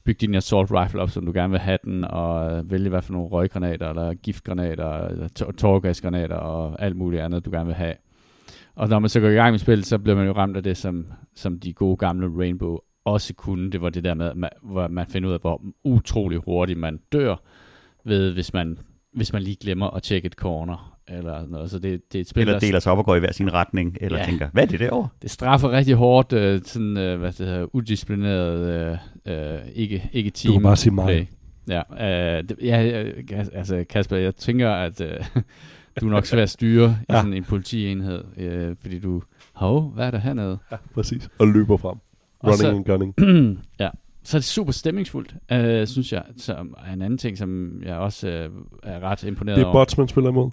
bygge din assault rifle op, som du gerne vil have den, og øh, vælge hvad for nogle røggranater, eller giftgranater, eller to- tårgasgranater, og alt muligt andet, du gerne vil have. Og når man så går i gang med spillet, så bliver man jo ramt af det, som, som de gode gamle Rainbow også kunne. Det var det der med, at man, hvor man finder ud af, hvor utrolig hurtigt man dør, ved, hvis man, hvis man lige glemmer at tjekke et corner. Eller noget. Så det, det er et spil, Eller der- deler sig op og går i hver sin retning, eller Ja. ja. tænker, hvad er det derovre? det straffer rigtig hårdt, øh, sådan, øh, hvad det hedder, udisciplineret, øh, øh, ikke, ikke team. Du kan bare sige mig. play. Ja, øh, det, ja, øh, Kas- altså Kasper, jeg tænker, at øh, du er nok svær at styre ja. i Ja. sådan en politienhed, øh, fordi du, hov, hvad er der hernede? Ja, præcis. Og løber frem. Running så- så, and gunning. ja, så er det super stemningsfuldt, øh, synes jeg. Så er en anden ting, som jeg også øh, er ret imponeret Det er over. bots, man spiller imod.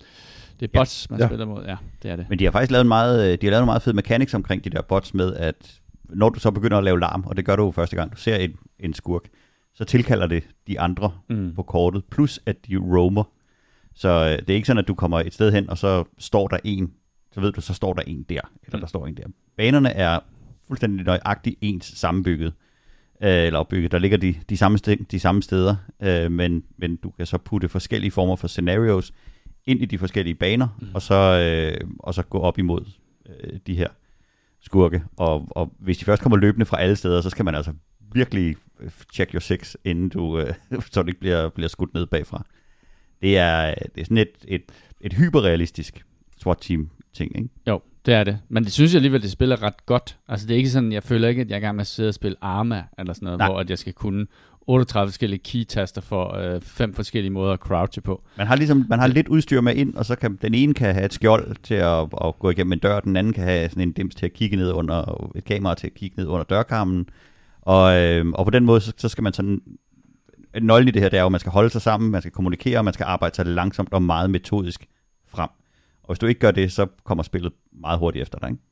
det er bots, man ja. Ja. spiller mod. Ja, det er det. Men de har faktisk lavet en meget, øh, de har lavet en meget fed mechanics omkring de der bots med, at når du så begynder at lave larm, og det gør du jo første gang, du ser en, en skurk, så tilkalder det de andre Mm. på kortet, plus at de roamer. Så øh, det er ikke sådan, at du kommer et sted hen, og så står der en, så ved du, så står der en der, eller Mm. der står en der. Banerne er fuldstændig nøjagtigt ens sammenbygget, øh, eller opbygget. Der ligger de, de, samme, sted, de samme steder, øh, men, men du kan så putte forskellige former for scenarios ind i de forskellige baner, Mm. mm. og, så, øh, og så gå op imod øh, de her skurke. Og, og hvis de først kommer løbende fra alle steder, så skal man altså virkelig øh, check your six, inden du, øh, så du ikke bliver, bliver skudt ned bagfra. Det er, øh, det er sådan et, et, et hyperrealistisk SWAT-team-ting, ikke? Jo, det er det. Men det synes jeg alligevel, det spiller ret godt. Altså det er ikke sådan, jeg føler ikke, at jeg er i gang med at sidde og spille Arma eller sådan noget, Nej. Nej. hvor at jeg skal kunne 38 forskellige key-taster for øh, fem forskellige måder at crouche på. Man har ligesom man har lidt udstyr med ind, og så kan den ene kan have et skjold til at, at gå igennem en dør, den anden kan have sådan en dims til at kigge ned under, et kamera til at kigge ned under dørkarmen. Og, øh, og på den måde, så, så skal man sådan... Nøglen i det her, det er jo, at man skal holde sig sammen, man skal kommunikere, og man skal arbejde sig langsomt og meget metodisk frem. Og hvis du ikke gør det, så kommer spillet meget hurtigt efter dig, ikke?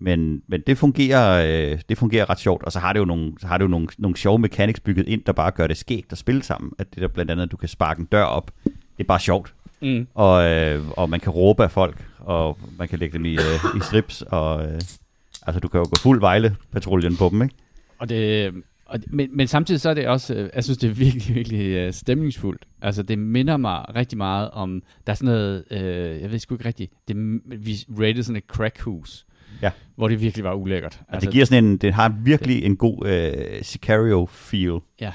Men, men det, fungerer, øh, det fungerer ret sjovt, og så har det jo, nogle, så har det jo nogle, nogle sjove mechanics bygget ind, der bare gør det skægt at spille sammen. At det der blandt andet, at du kan sparke en dør op, det er bare sjovt. Mm. Og, øh, og man kan råbe af folk, og man kan lægge dem i, øh, i strips, og øh, altså du kan jo gå fuld Vejle-patruljen på dem, ikke? Altså, Og det, og, det- men, men samtidig så er det også, øh, jeg synes det er virkelig, virkelig øh, stemningsfuldt. Altså det minder mig rigtig meget om, der er sådan noget, øh, jeg ved sgu ikke rigtigt, det, vi rated sådan et crackhus, Ja. hvor det virkelig var ulækkert. Altså, det giver sådan en, det har virkelig en god øh, Sicario-feel. Ja.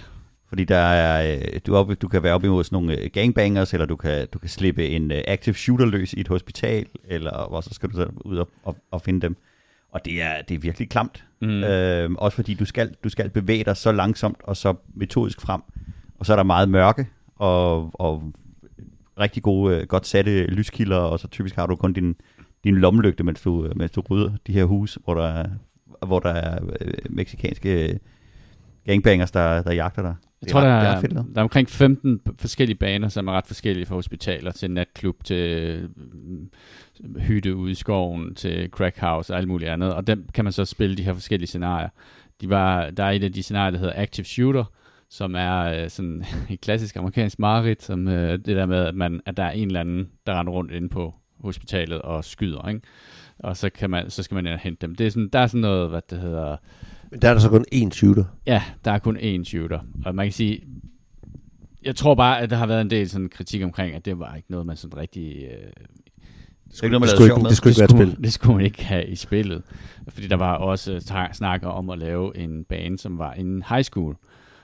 Fordi der er, øh, du, er oppe, du kan være oppe imod sådan nogle øh, gangbangers, eller du kan, du kan slippe en øh, active shooter løs i et hospital, eller hvor så skal du så ud og, og, og finde dem. Og det er, det er virkelig klamt. Mm. Mm. Øh, også fordi du skal, du skal bevæge dig så langsomt og så metodisk frem. Og så er der meget mørke, og, og rigtig gode, øh, godt satte øh, lyskilder, og så typisk har du kun din, din lommelygte, mens du, mens du rydder de her huse, hvor der er, hvor der er øh, meksikanske gangbangers, der, der jagter dig. Jeg Det tror, ret- der det er, ret fedt lavet. der er omkring 15 p- forskellige baner, som er ret forskellige fra hospitaler til natklub, til øh, hytte ude i skoven, til crackhouse og alt muligt andet. Og dem kan man så spille de her forskellige scenarier. De var, der er et af de scenarier, der hedder Active Shooter, som er øh, sådan et klassisk amerikansk mareridt, som øh, det der med, at, man, at der er en eller anden, der render rundt inde på hospitalet og skyder, ikke? Og så, kan man, så skal man ind og hente dem. Det er sådan, der er sådan noget, hvad det hedder, Men der er der så kun én shooter. Ja, der er kun én shooter. Og man kan sige, jeg tror bare, at der har været en del sådan kritik omkring, at det var ikke noget, man sådan rigtig... Øh, Det er ikke noget, man Det lavede skulle, sjov ikke, med. det skulle ikke være et skulle, spil. det skulle man ikke have i spillet. Fordi der var også ta- snakker om at lave en bane, som var en high school.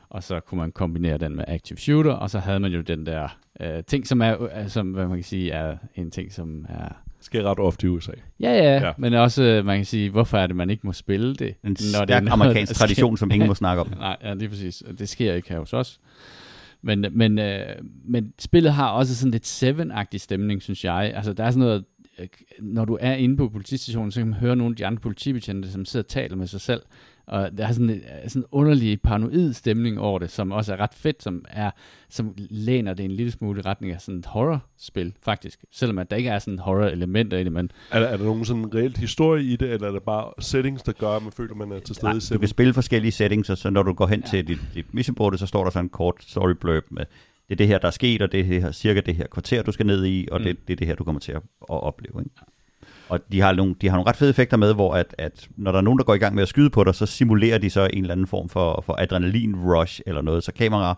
Og så kunne man kombinere den med active shooter, og så havde man jo den der øh, ting, som er, øh, som, hvad man kan sige, er en ting, som er... sker ret ofte i USA. Ja, ja, ja. Ja. men også, øh, man kan sige, hvorfor er det, man ikke må spille det? En når det er stærk noget, amerikansk der sker? tradition, som ingen må snakke om. Nej, ja, lige præcis. Og Det sker ikke her hos os. Men, men, øh, men spillet har også sådan lidt Seven-agtig stemning, synes jeg. Altså, der er sådan noget, øh, når du er inde på politistationen, så kan man høre nogle af de andre politibetjente, som sidder og taler med sig selv. Og der er sådan en øh, sådan en underlig paranoid stemning over det, som også er ret fedt, som, er, som læner det en lille smule i retning af sådan et horrorspil, faktisk. Selvom at der ikke er sådan horror-elementer i det, men Er der, er der nogen sådan reelt historie i det, eller er det bare settings, der gør, at man føler, man er til stede Du i kan settings? spille forskellige settings, og så når du går hen ja. til dit, dit mission board, så står der sådan en kort story blurb med, det er det her, der er sket, og det er det her, cirka det her kvarter, du skal ned i, og mm. det, det er det her, du kommer til at, at opleve. Ikke? Og de har, nogle, de har nogle ret fede effekter med, hvor at, at når der er nogen, der går i gang med at skyde på dig, så simulerer de så en eller anden form for, for adrenalin-rush eller noget. Så kamera,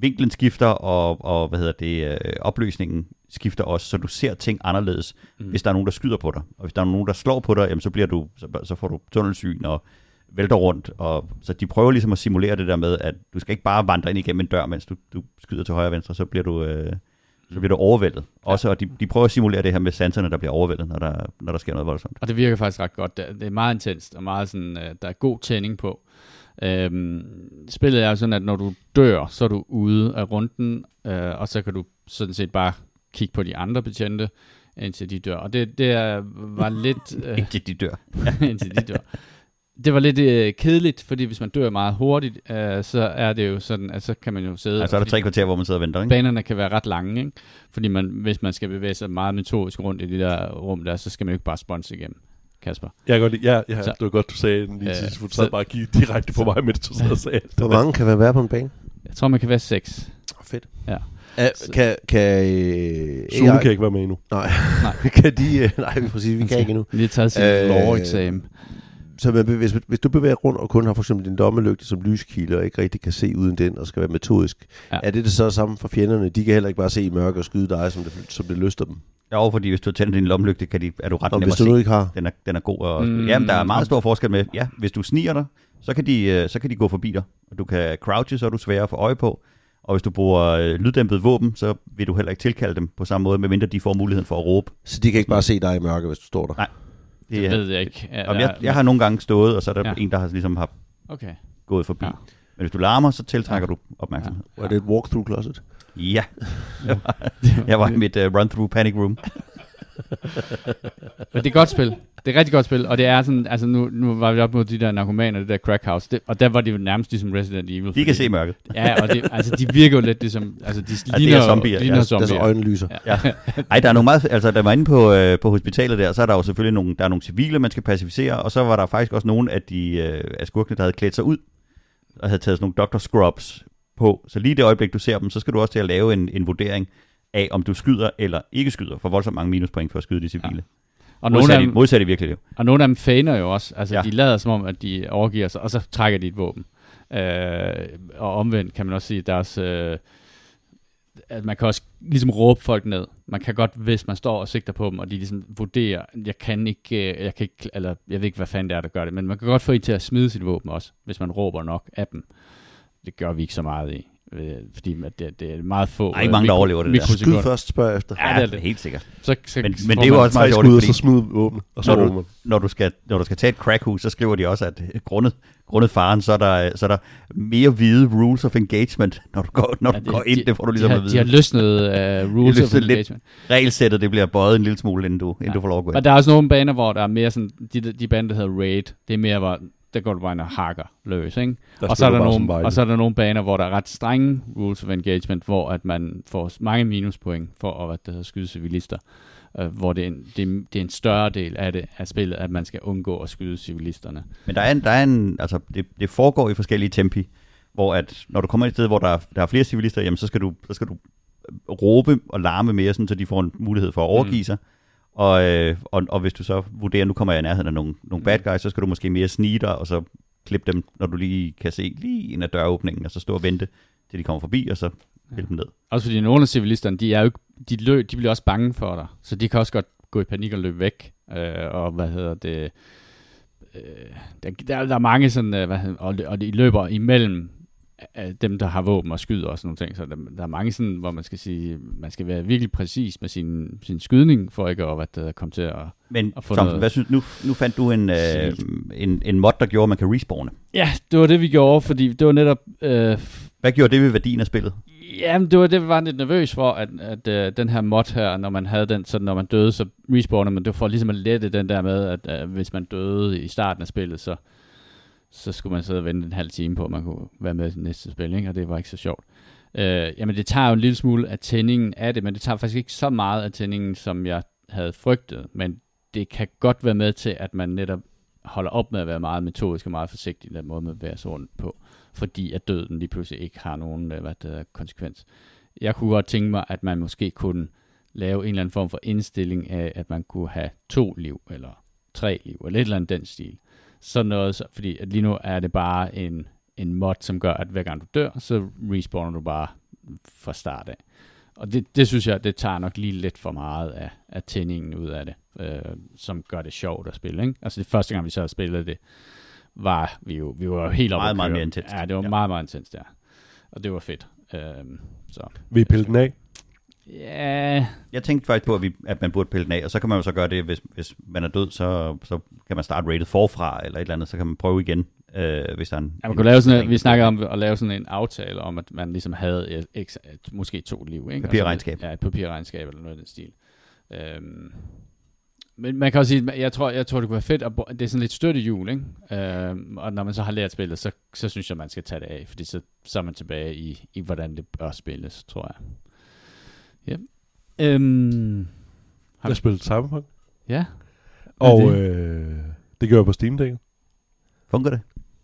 vinklen skifter, og, og hvad hedder det, øh, opløsningen skifter også, så du ser ting anderledes, mm. hvis der er nogen, der skyder på dig. Og hvis der er nogen, der slår på dig, jamen, så, bliver du, så, så får du tunnelsyn og vælter rundt. Og, så de prøver ligesom at simulere det der med, at du skal ikke bare vandre ind igennem en dør, mens du, du skyder til højre og venstre, så bliver du... Øh, så bliver du overvældet. Også, og de, de prøver at simulere det her med sanserne, der bliver overvældet, når der, når der sker noget voldsomt. Og det virker faktisk ret godt. Det det er meget intenst, og meget sådan, øh, der er god tænding på. Øhm, spillet er jo sådan, at når du dør, så er du ude af runden, øh, og så kan du sådan set bare kigge på de andre betjente, indtil de dør. Og det, det er, var lidt... Øh, Indtil de dør. indtil de dør. Det var lidt øh, kedeligt, fordi hvis man dør meget hurtigt, øh, så er det jo sådan, at så kan man jo sidde... Altså, så er og der tre kvarter, hvor man sidder og venter, ikke? banerne kan være ret lange, ikke? fordi man, hvis man skal bevæge sig meget metodisk rundt i det der rum der, så skal man jo ikke bare sponse igennem, Kasper. Jeg kan godt lide, ja, ja Så- det var godt, du sagde den lige Øh, til sidst, for du så- sad bare og kiggede direkte på mig, mens du sad og sagde alt Hvor det. der. mange kan man være på en bane? Jeg tror, man kan være seks. Oh, fedt. Ja. Er, Så- kan, kan, øh, Sune AI kan ikke være med endnu. Nej, Nej. kan de... øh, Nej, vi præcis, vi kan ikke endnu. Vi har taget sin Øh, øh, law-eksamen. Så man, bevæger- hvis, hvis du bevæger rundt og kun har for eksempel din dommelygte som lyskilde, og ikke rigtig kan se uden den, og skal være metodisk, Ja. ja. er det det så samme for fjenderne? De kan heller ikke bare se i mørke og skyde dig, som det, som det lyster dem. Jo, fordi hvis du tænder din lommelygte, kan de, er du ret Og nem at hvis se. du nu ikke har... Den er, den er god at Mm. mm. Jamen, der er meget stor forskel med, ja, hvis du sniger dig, så kan de, øh, så kan de gå forbi dig. Og du kan crouche, så er du sværere at få øje på. Og hvis du bruger øh, lyddæmpet våben, så vil du heller ikke tilkalde dem på samme måde, medmindre de får muligheden for at råbe. Så de kan ikke bare se dig i mørke, hvis du står der. Nej. Det ved jeg ikke. Ja, Jamen, der- jeg, jeg har nogle gange stået, og så er der Ja. ja. en, der har, ligesom har Okay. gået forbi. Ja. Ja. Men hvis du larmer, så tiltrækker ja. du opmærksomhed. Var det et walkthrough closet? Ja. Jeg var, jeg var i mit uh, run-through panic room. Men det er et godt spil. Det er et rigtig godt spil, og det er sådan, altså nu, nu var vi op mod de der narkomaner, det der crack house, det, og der var det jo nærmest ligesom Resident Evil. De fordi- kan se mørket. Ja, og det, altså de virker jo lidt ligesom, altså de er ligner, ja, zombier, ligner ja. Deres zombier. øjne lyser. Ja. Ja. Ej, der er nogle meget, altså der var inde på, øh, på hospitalet der, så er der jo selvfølgelig nogle, der er nogle civile, man skal pacificere, og så var der faktisk også nogle af de øh, af skurkene, der havde klædt sig ud, og havde taget sådan nogle Dr. Scrubs på. Så lige det øjeblik, du ser dem, så skal du også til at lave en, en vurdering af, om du skyder eller ikke skyder, for voldsomt mange minuspoint for at skyde de civile. Ja. Og nogle, af Modsat, i, dem, modsat i virkelig liv. og nogle af dem faner jo også, altså ja. de Ja. lader som om, at de overgiver sig, og så trækker de et våben. Øh, og omvendt kan man også sige, at deres, øh, at man kan også ligesom råbe folk ned. Man kan godt, hvis man står og sigter på dem, og de ligesom vurderer, jeg kan ikke, øh, jeg kan ikke, eller jeg ved ikke, hvad fanden det er, der gør det, men man kan godt få en til at smide sit våben også, hvis man råber nok af dem. Det gør vi ikke så meget i. øh, fordi at det, det er meget få øh, Der er ikke mange, der overlever det der. Skyd mikrosekunder. først, spørg efter. Ja, det er det. helt sikkert. Så, så, Men- så men får det er jo man- også Tre meget skud, dårligt, og så fordi smid våben, og så når råber du, man. når, du skal, når du skal tage et crackhus, så skriver de også, at øh, grundet, grundet faren, så er, der, øh, så er der mere hvide rules of engagement, når du går, når Ja, ja, du går ind. Det får du ligesom de, at har, de har vide. løsnet uh, rules of løsnet lidt. engagement. Regelsættet, det bliver bøjet en lille smule, inden du, inden du får lov at gå ind. Og der er også nogle baner, hvor der er mere sådan, de, de baner, der hedder Raid, det er mere, hvor der går du bare ind og hakker løs, ikke? Der og, så spiller er du der bare som nogle, Vejle. og så er der nogle baner, hvor der er ret strenge rules of engagement, hvor at man får s- mange minuspoint for at hvad det hedder, skyde civilister. Øh, hvor det er, en, det, er, det er en større del af, det, af spillet, at man skal undgå at skyde civilisterne. Men der er en, der er en altså det, det foregår i forskellige tempi, hvor at, når du kommer et sted, hvor der er, der er flere civilister, jamen så skal du, så skal du øh, råbe og larme mere, sådan, så de får en mulighed for at overgive mm. sig. Og, øh, og, og, hvis du så vurderer, nu kommer jeg i nærheden af nogle, nogle bad guys, så skal du måske mere snige dig, og så klippe dem, når du lige kan se lige ind ad døråbningen, og så stå og vente, til de kommer forbi, og så hjælpe dem ned. Også fordi nogle af civilisterne, de, er jo ikke, de, løb, de bliver også bange for dig, så de kan også godt gå i panik og løbe væk. Øh, og hvad hedder det... Øh, der, der, der er mange sådan, øh, hvad hedder, og, og de løber imellem øh, dem, der har våben og skyder og sådan nogle ting. Så der, der er mange sådan, hvor man skal sige, man skal være virkelig præcis med sin, sin skydning, for ikke at hvad det hedder, komme til at... Men Og få Thompson, noget- hvad synes, nu, nu fandt du en, øh, en, en mod, der gjorde, at man kan respawne. Ja, det var det, vi gjorde, fordi det var netop... Øh, Hvad gjorde det ved værdien af spillet? Jamen, det var det, vi var lidt nervøs for, at, at øh, den her mod her, når man havde den, så når man døde, så respawnede man. Det var for ligesom at lette den der med, at øh, hvis man døde i starten af spillet, så, så skulle man sidde og vente en halv time på, at man kunne være med i det næste spil, ikke? og det var ikke så sjovt. Øh, jamen, det tager jo en lille smule af tændingen af det, men det tager faktisk ikke så meget af tændingen, som jeg havde frygtet, men det kan godt være med til, at man netop holder op med at være meget metodisk og meget forsigtig i den måde, man bevæger sig rundt på fordi at døden lige pludselig ikke har nogen øh, hvad det hedder, konsekvens. Jeg kunne godt tænke mig, at man måske kunne lave en eller anden form for indstilling af, at man kunne have to liv, eller tre liv, eller et eller andet den stil. Sådan noget, så- fordi at lige nu er det bare en, en mod, som gør, at hver gang du dør, så respawner du bare fra start af. Og det, det synes jeg, det tager nok lige lidt for meget af, af tændingen ud af det, øh, som gør det sjovt at spille. Ikke? Altså det første gang, vi så havde spillet det, var vi jo, vi var jo helt oppe Meget, at meget køre. mere intenst. Ja, det var Ja. ja. meget, meget intenst, ja. Og det var fedt. Øhm, så. Vil I pille den af? Ja, Jeg tænkte faktisk på, at, vi, at man burde pille den af, og så kan man jo så gøre det, hvis, hvis man er død, så, så kan man starte rated forfra eller et eller andet, så kan man prøve igen, øh, hvis der er en... Ja, man kunne lave sådan, en- en, vi snakkede om at lave sådan en aftale om, at man ligesom havde et, et, et, måske to liv. Ikke? Og så- Papirregnskab. Ja, et papirregnskab eller noget i den stil. Øhm, men man kan også sige, at jeg tror, jeg tror, det kunne være fedt, at bo- det er sådan lidt støttehjul, ikke? Øhm, og når man så har lært spillet, så, så synes jeg, man skal tage det af, fordi så, så er man tilbage i, i, hvordan det bør spilles, tror jeg. Ja. Øhm, Har Jeg vi- spillede Cyberpunk, ja. og det? øh, det gør jeg på steam -dækket. Fungerer det?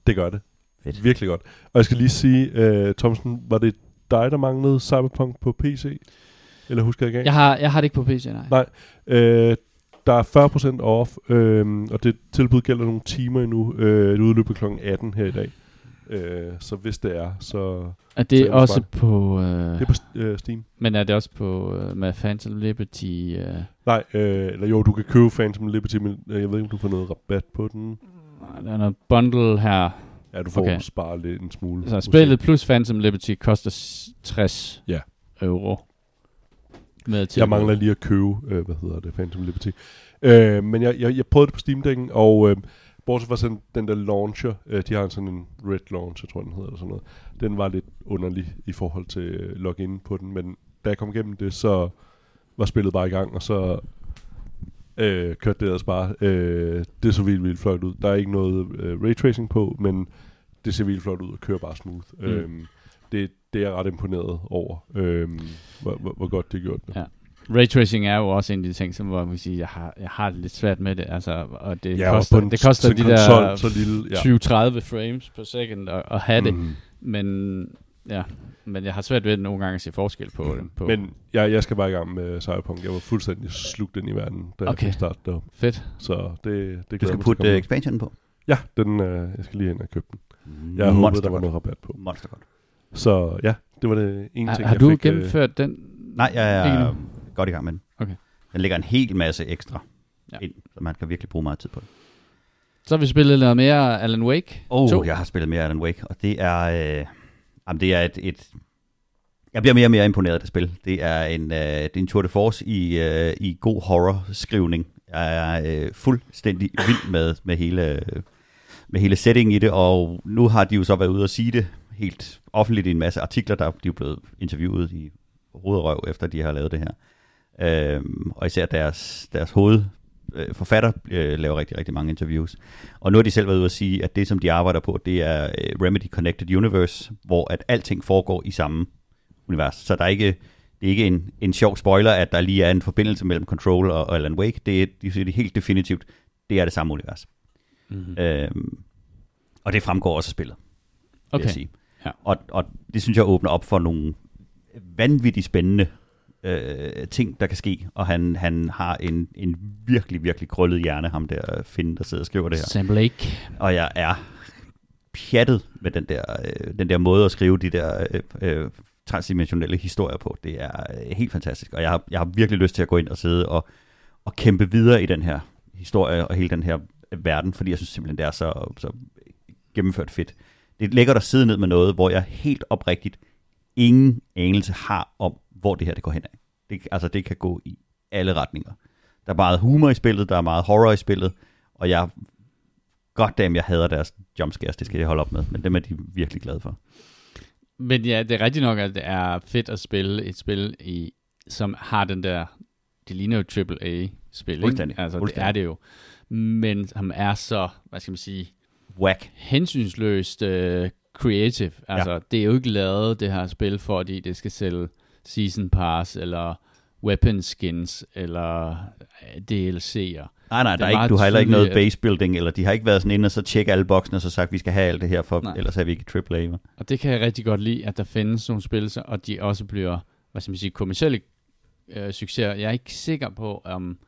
Det gør det. Fedt. Virkelig godt. Og jeg skal lige sige, øh, Thomsen, var det dig, der manglede Cyberpunk på PC? Eller husker jeg galt? Jeg har, jeg har det ikke på PC, nej. Nej. Øh, der er 40% off, øh, og det tilbud gælder nogle timer endnu. Øh, det udløber kl. 18 her i dag. Øh, så hvis det er, så... Er Så det jeg må også svare. på... Øh, Det er på øh, Steam. Men er det også på øh, med Phantom Liberty? Øh, Nej, øh, eller jo, du kan købe Phantom Liberty, men øh, jeg ved ikke, om du får noget rabat på den. nej, der er noget bundle her. Ja, du får okay. Okay. spare lidt en smule. Så måske. spillet plus Phantom Liberty koster s- 60 Ja. euro. Med til Jeg mangler lige at købe, øh, hvad hedder det, Phantom Liberty. Øh, men jeg, jeg, jeg prøvede det på steam Deck'en, og øh, bortset fra sådan, den der launcher, øh, de har sådan en red launcher, tror jeg den hedder, eller sådan noget. Den var lidt underlig i forhold til øh, login på den, men da jeg kom igennem det, så var spillet bare i gang, og så øh, kørte det ellers bare. Øh, det så vildt, vildt flot ud. Der er ikke noget øh, raytracing på, men det ser vildt flot ud og kører bare smooth. Mm. Mm. Øh, det, det er jeg ret imponeret over, øh, hvor, hvor, hvor godt det er gjort. Raytracing er jo også en af de ting, som hvor man kan sige, jeg har, jeg har det lidt svært med det. Altså, og det og koster, på en- det koster sådan de en konsol, der så lille, ja. 20-30 frames per second at, at have mm. det. Men ja, men jeg har svært ved nogle gange at se forskel på det. På. Mm. Men jeg, jeg skal bare i gang med Cyberpunk. Jeg var fuldstændig slugt ind i verden, da okay. jeg Okay. fik start derop. Fedt. Så det, Du det glæder skal mig til at komme putte uh, med. expansionen på. Ja, den, øh, jeg skal lige ind og købe den. Jeg håbede, der var godt. noget rabat på. Monster godt. Så ja, det var det ene Har, ting, har jeg du fik. øh, gennemført den? Nej, jeg Ikke er endnu. godt i gang med den. Okay. Den lægger en hel masse ekstra ja. Ja. ind, så man kan virkelig bruge meget tid på det. Så har vi spillet noget mere Alan Wake Åh, to. oh, jeg har spillet mere Alan Wake, og det er... Øh, jamen, det er et, et Jeg bliver mere og mere imponeret af det spil. Det er en, øh, det er en tour de force i, øh, i god horror-skrivning. Jeg er øh, fuldstændig vild med, med, hele, øh, med hele settingen i det, og nu har de jo så været ude og sige det helt offentligt i en masse artikler, der de er jo blevet interviewet i hovedrøv, efter de har lavet det her. Øhm, og især deres, deres hovedforfatter øh, forfatter, øh, laver rigtig, rigtig mange interviews. Og nu har de selv været ude at sige, at det, som de arbejder på, det er øh, Remedy Connected Universe, hvor at alting foregår i samme univers. Så der er ikke, det er ikke en, en sjov spoiler, at der lige er en forbindelse mellem Control og, og Alan Wake. Det er, de siger det helt definitivt. Det er det samme univers. Mm-hmm. Øhm, og det fremgår også af spillet, okay. vil Okay. jeg sige. Ja. Og, og det synes jeg åbner op for nogle vanvittigt spændende øh, ting, der kan ske. Og han, han har en, en virkelig, virkelig krøllet hjerne, ham der Finn, der sidder og skriver det her. Sam Blake. Og jeg er pjattet med den der, øh, den der måde at skrive de der øh, øh, transdimensionelle historier på. Det er øh, helt fantastisk, og jeg har, jeg har virkelig lyst til at gå ind og sidde og, og kæmpe videre i den her historie og hele den her verden, fordi jeg synes simpelthen, det er så, så gennemført fedt. Det lægger dig sidde ned med noget, hvor jeg helt oprigtigt ingen anelse har om, hvor det her det går hen af. Det, altså, det kan gå i alle retninger. Der er meget humor i spillet, der er meget horror i spillet, og jeg Goddamn, jeg hader deres jumpscares, det skal jeg holde op med, men dem er de virkelig glade for. Men ja, det er rigtigt nok, at det er fedt at spille et spil, i, som har den der, det ligner jo AAA-spil, ikke? Fuldstændig. Altså, det Fuldstændig. er det jo. Men som er så, hvad skal man sige, Whack. hensynsløst øh, creative. Altså, ja. det er jo ikke lavet, det her spil, fordi det skal sælge season pass, eller weapon skins, eller øh, DLC'er. Nej, nej, Det der er er ikke, meget du har heller ikke noget tydeligt, at- base building, eller de har ikke været sådan inde og så tjekke alle boksene, og så sagt, vi skal have alt det her, for Nej. nej. ellers er vi ikke i AAA. hva'? Og det kan jeg rigtig godt lide, at der findes nogle spil, så- og de også bliver, hvad skal man sige, kommersielle øh, succeser. Jeg er ikke sikker på, om,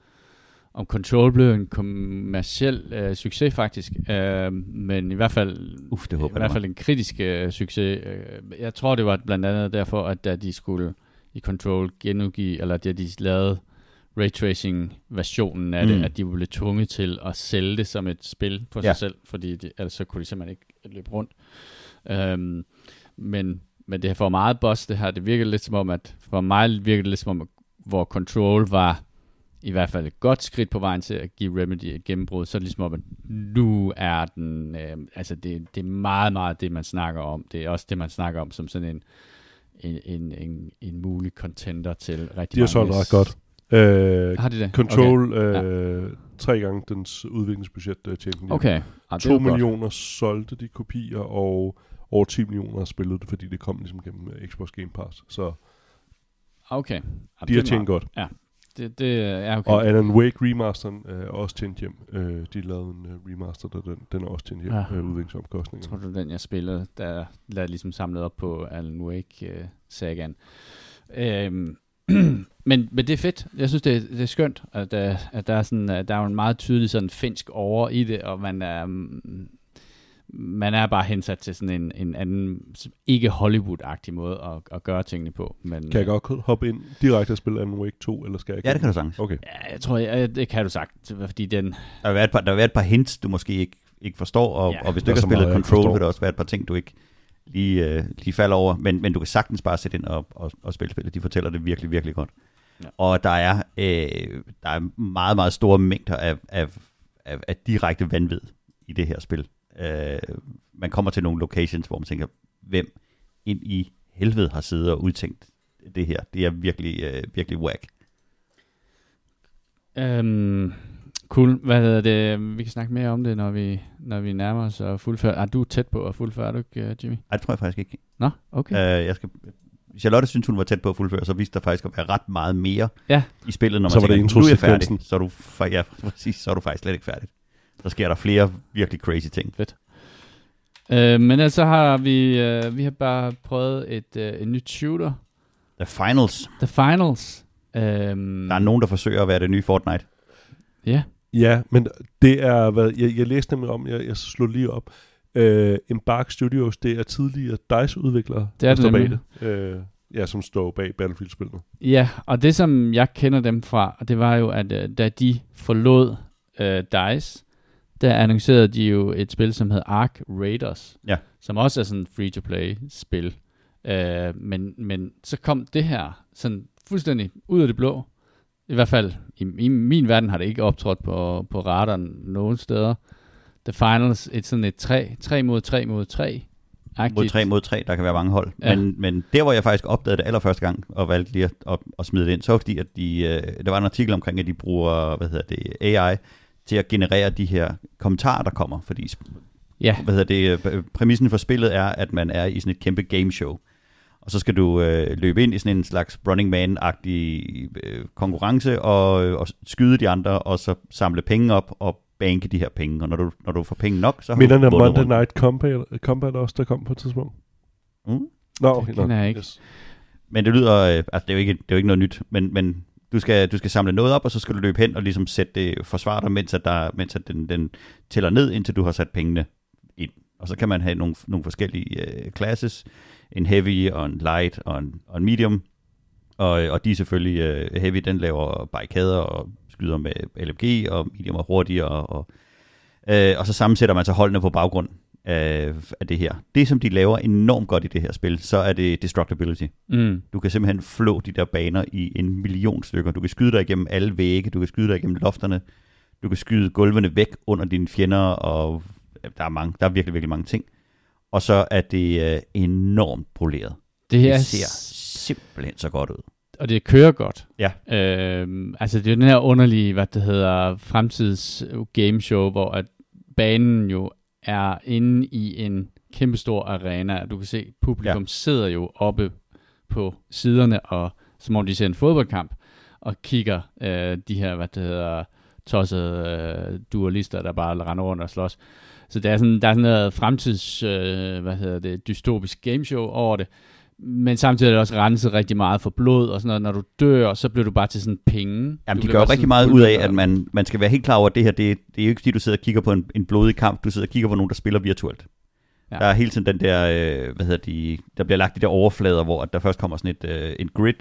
om Control blev en kommersiel øh, succes faktisk, øh, men i hvert fald Uff, det i håber hvert jeg. fald en kritisk øh, succes. Øh, Jeg tror, det var blandt andet derfor, at da de skulle i Control genudgive, eller da de lavede raytracing-versionen af det, Mm. at de blev tvunget til at sælge det som et spil for Ja. sig selv, fordi de, ellers så kunne de simpelthen ikke løbe rundt. Øhm, men, men det får meget boss, det her. Det virker lidt som om, at for mig virker det lidt som om, hvor Control var i hvert fald et godt skridt på vejen til at give Remedy et gennembrud, så er det ligesom om, at nu er den, øh, altså det, det er meget, meget det, man snakker om. Det er også det, man snakker om som sådan en, en, en, en, en mulig contender til rigtig De har mange. solgt ret godt. Øh, Har de det? Control øh, tre gange dens udviklingsbudget øh, tjente den Okay. okay. Ah, det er 2 jo godt. millioner solgte de kopier, og over 10 millioner har spillet det, fordi det kom ligesom gennem øh, Xbox Game Pass. Så Okay. Ah, de det Ah, er har tjent godt. meget- Det, det er okay. Og Alan Wake remasteren øh, er også tjent hjem. Øh, de lavede en øh, remaster, der den, den er også tjent hjem. Ja. Ja. Øh, Jeg tror, udviklingsomkostninger. det var den, jeg spillede, der, der ligesom samlede op på Alan Wake-sagan. Øhm, men, men det er fedt. Jeg synes, det er, det er skønt, at, øh, at der er sådan, at der er jo en meget tydelig sådan finsk over i det, og man er, mm, man er bare hensat til sådan en, en anden, ikke Hollywood-agtig måde at, at gøre tingene på. Men, øh, Kan jeg godt hoppe ind direkte og spille Alan Wake 2, eller skal jeg ikke? Ja, det kan du sagtens. Okay. Ja, jeg tror, jeg, det kan du sagt, fordi den, Der vil være et par, der vil være et par hints, du måske ikke, ikke forstår, og, Ja. ja, og hvis Der du er ikke så har spillet meget, jeg ikke Control, forstår. vil der også være et par ting, du ikke lige, øh, lige falder over, men, men du kan sagtens bare sætte ind og, og, og spille spillet. De fortæller det virkelig, virkelig godt. Ja. Ja. Og der er, øh, der er meget, meget store mængder af, af, af, af direkte vanvid i det her spil. Øh, man kommer til nogle locations, hvor man tænker, hvem ind i helvede har siddet og udtænkt det her? Det er virkelig, øh, virkelig whack. Øhm, cool. Hvad hedder det? Vi kan snakke mere om det, når vi, når vi nærmer os og fuldfører. Ah, du er tæt på at fuldføre, er du ikke, øh, Jimmy? Ej, det tror jeg faktisk ikke. Nå, okay. Ja. Øh, jeg skal, Charlotte synes, hun var tæt på at fuldføre, så viste der faktisk at være ret meget mere Ja. i spillet, når man Så var det tænker, nu er jeg introsekvensen. færdig, så er, du, fa- ja, præcis, så er du faktisk slet ikke færdig. Så sker der flere virkelig crazy ting. Øh, men altså har vi, øh, vi har bare prøvet et, øh, et nyt shooter. The Finals. The Finals. Øhm, Der er nogen, der forsøger at være det nye Fortnite. Ja, Ja, men det er, hvad, jeg, jeg læste nemlig om, jeg, jeg slog lige op. Øh, Embark Studios, det er tidligere DICE-udviklere, Det er der det står bag nemlig. det. Øh, ja, som står bag Battlefield-spillene. ja, og det som jeg kender dem fra, og det var jo, at øh, da de forlod øh, DICE, der annoncerede de jo et spil, som hed Ark Raiders, Ja. som også er sådan en free-to-play-spil. Øh, men, men så kom det her sådan fuldstændig ud af det blå. I hvert fald i, i min verden har det ikke optrådt på, på radaren nogen steder. The Finals, et sådan et 3, 3 mod 3 mod 3. Mod tre mod tre, der kan være mange hold. Ja. Ja. Men, men der, hvor jeg faktisk opdagede det allerførste gang, og valgte lige at, at, at smide det ind, så var det fordi, at de, øh, der var en artikel omkring, at de bruger hvad hedder det, AI til at generere de her kommentarer, der kommer. Fordi Ja, hvad hedder det, øh, præmissen for spillet er, at man er i sådan et kæmpe gameshow. Og så skal du øh, løbe ind i sådan en slags Running Man-agtig øh, konkurrence og, øh, og skyde de andre, og så samle penge op og banke de her penge. Og når du, når du får penge nok, så har Minder du om vundet Monday runden. Night Combat, øh, Combat også, der kom på et tidspunkt? Mm. Nå, Det okay, nå. kender jeg ikke. Yes. Men det lyder, øh, altså det er jo ikke, det er jo ikke noget nyt, men, men du, skal, du skal samle noget op, og så skal du løbe hen og ligesom sætte det, forsvare dig, mens, at der, mens at den, den tæller ned, indtil du har sat pengene ind. Og så kan man have nogle, nogle forskellige øh, classes, en heavy og en light og en, og en medium, og, øh, og de er selvfølgelig, øh, heavy den laver barrikader og skyder med LMG, og medium er hurtigere, og, og, øh, og så sammensætter man så holdene på baggrund af, af det her. Det, som de laver enormt godt i det her spil, så er det destructibility. mm, Du kan simpelthen flå de der baner i en million stykker. Du kan skyde dig igennem alle vægge, du kan skyde dig igennem lofterne, du kan skyde gulvene væk under dine fjender, og øh, der er, mange, der er virkelig, virkelig mange ting. Og så er det øh, enormt poleret. det her Det er ser simpelthen så godt ud. og det kører godt. Ja. Øhm, altså, det er jo den her underlige, hvad det hedder, fremtids gameshow, hvor at banen jo er inde i en kæmpestor arena. Du kan se, publikum ja. Ja. sidder jo oppe på siderne, og som om de ser en fodboldkamp, og kigger øh, de her, hvad det hedder, tossede øh, dualister, der bare render rundt og slås. Så der er sådan, der er sådan noget fremtids, øh, hvad hedder det, dystopisk gameshow over det. Men samtidig er det også renset rigtig meget for blod og sådan noget. Når du dør, så bliver du bare til sådan penge. Jamen, du de bliver gør jo bare sådan rigtig meget ud af, pulver. at man, man skal være helt klar over, at det her, det, det er jo ikke fordi, du sidder og kigger på en, en blodig kamp, du sidder og kigger på nogen, der spiller virtuelt. Ja. Ja. Der er hele tiden den der, øh, hvad hedder de, der bliver lagt de der overflader, hvor at der først kommer sådan et, øh, en grid,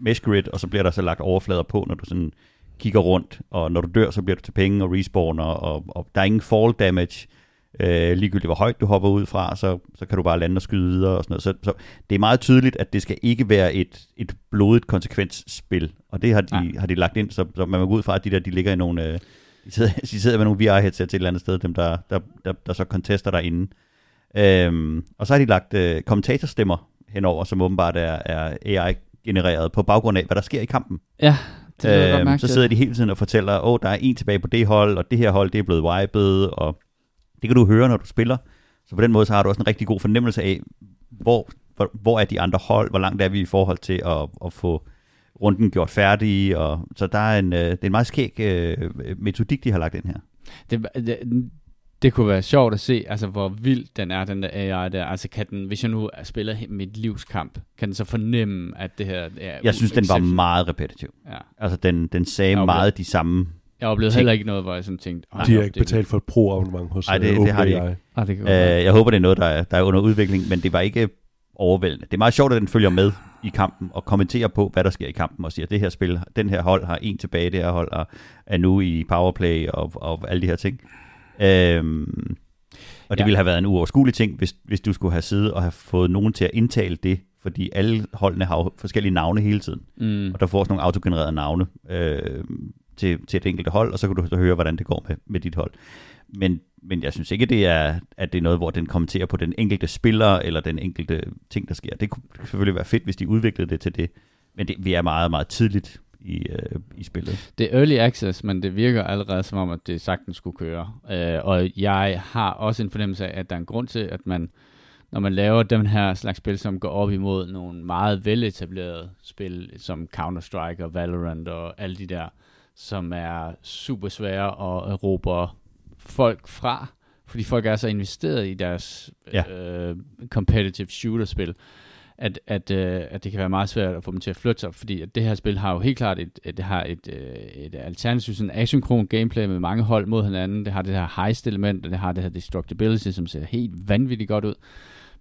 mesh grid, og så bliver der så lagt overflader på, når du sådan kigger rundt, og når du dør, så bliver du til penge og respawner, og, og der er ingen fall damage, øh, ligegyldigt hvor højt du hopper ud fra, så, så kan du bare lande og skyde videre og sådan noget. Så, så det er meget tydeligt, at det skal ikke være et, et blodigt konsekvensspil, og det har de, Nej. har de lagt ind, så, så man må gå ud fra, at de der, de ligger i nogle... Øh, de sidder, de sidder med nogle VR-headsets et eller andet sted, dem der, der, der, der så contester derinde. Øhm, og så har de lagt øh, kommentatorstemmer henover, som åbenbart er, er AI-genereret på baggrund af, hvad der sker i kampen. Ja, det er godt Øhm, mærke så til. sidder de hele tiden og fortæller, at oh, der er en tilbage på det hold, og det her hold det er blevet wiped, og det kan du høre, når du spiller. Så på den måde så har du også en rigtig god fornemmelse af, hvor, hvor, hvor er de andre hold, hvor langt er vi i forhold til at, at få runden gjort færdig. Og, så der er en, øh, det er en meget skæg øh, metodik, de har lagt ind her. det, det, det kunne være sjovt at se, altså hvor vild den er, den der AI der. Altså kan den, hvis jeg nu spiller he- mit livskamp, kan den så fornemme, at det her er Jeg synes, den var uacceptabelt? meget repetitiv. Ja. Altså, den, den sagde Okay. okay. meget de samme. Jeg oplevede Tænk- heller ikke noget, hvor jeg sådan tænkte... "Hold De har op, ikke det er betalt for et pro-abonnement hos øh, Ej, Ej, det- det, det har de ikke. OpenAI. vildt." Ah, det kan Øh, godt være. jeg håber, det er noget, der er, der er under udvikling, men det var ikke overvældende. Det er meget sjovt, at den følger med i kampen og kommenterer på, hvad der sker i kampen, og siger, at det her spil, den her hold har en tilbage, det her hold er, er nu i powerplay og, og alle de her ting. Øhm, og det Ja. ja. ville have været en uoverskuelig ting, hvis, hvis du skulle have siddet og have fået nogen til at indtale det, fordi alle holdene har jo forskellige navne hele tiden. Mm. Øh, Og der får også nogle autogenererede navne øh, til, til et enkelt hold, og så kan du så høre, hvordan det går med, med dit hold. Men, men jeg synes ikke, det er, at det er noget, hvor den kommenterer på den enkelte spiller, eller den enkelte ting, der sker. Det kunne selvfølgelig være fedt, hvis de udviklede det til det. Men det, vi er meget, meget tidligt i, øh, i spillet. Det er early access, men det virker allerede som om, at det sagtens skulle køre. Øh, og jeg har også en fornemmelse af, at der er en grund til, at man, når man laver den her slags spil, som går op imod nogle meget veletablerede spil, som Counter-Strike og Valorant og alle de der, som er super svære at erobre folk fra, fordi folk er så investeret i deres Ja. øh, competitive shooter-spil, at, at, øh, at det kan være meget svært at få dem til at flytte sig, fordi at det her spil har jo helt klart et, et, det har et, øh, et alternativ, sådan asynkron gameplay med mange hold mod hinanden, det har det her heist-element, og det har det her destructibility, som ser helt vanvittigt godt ud,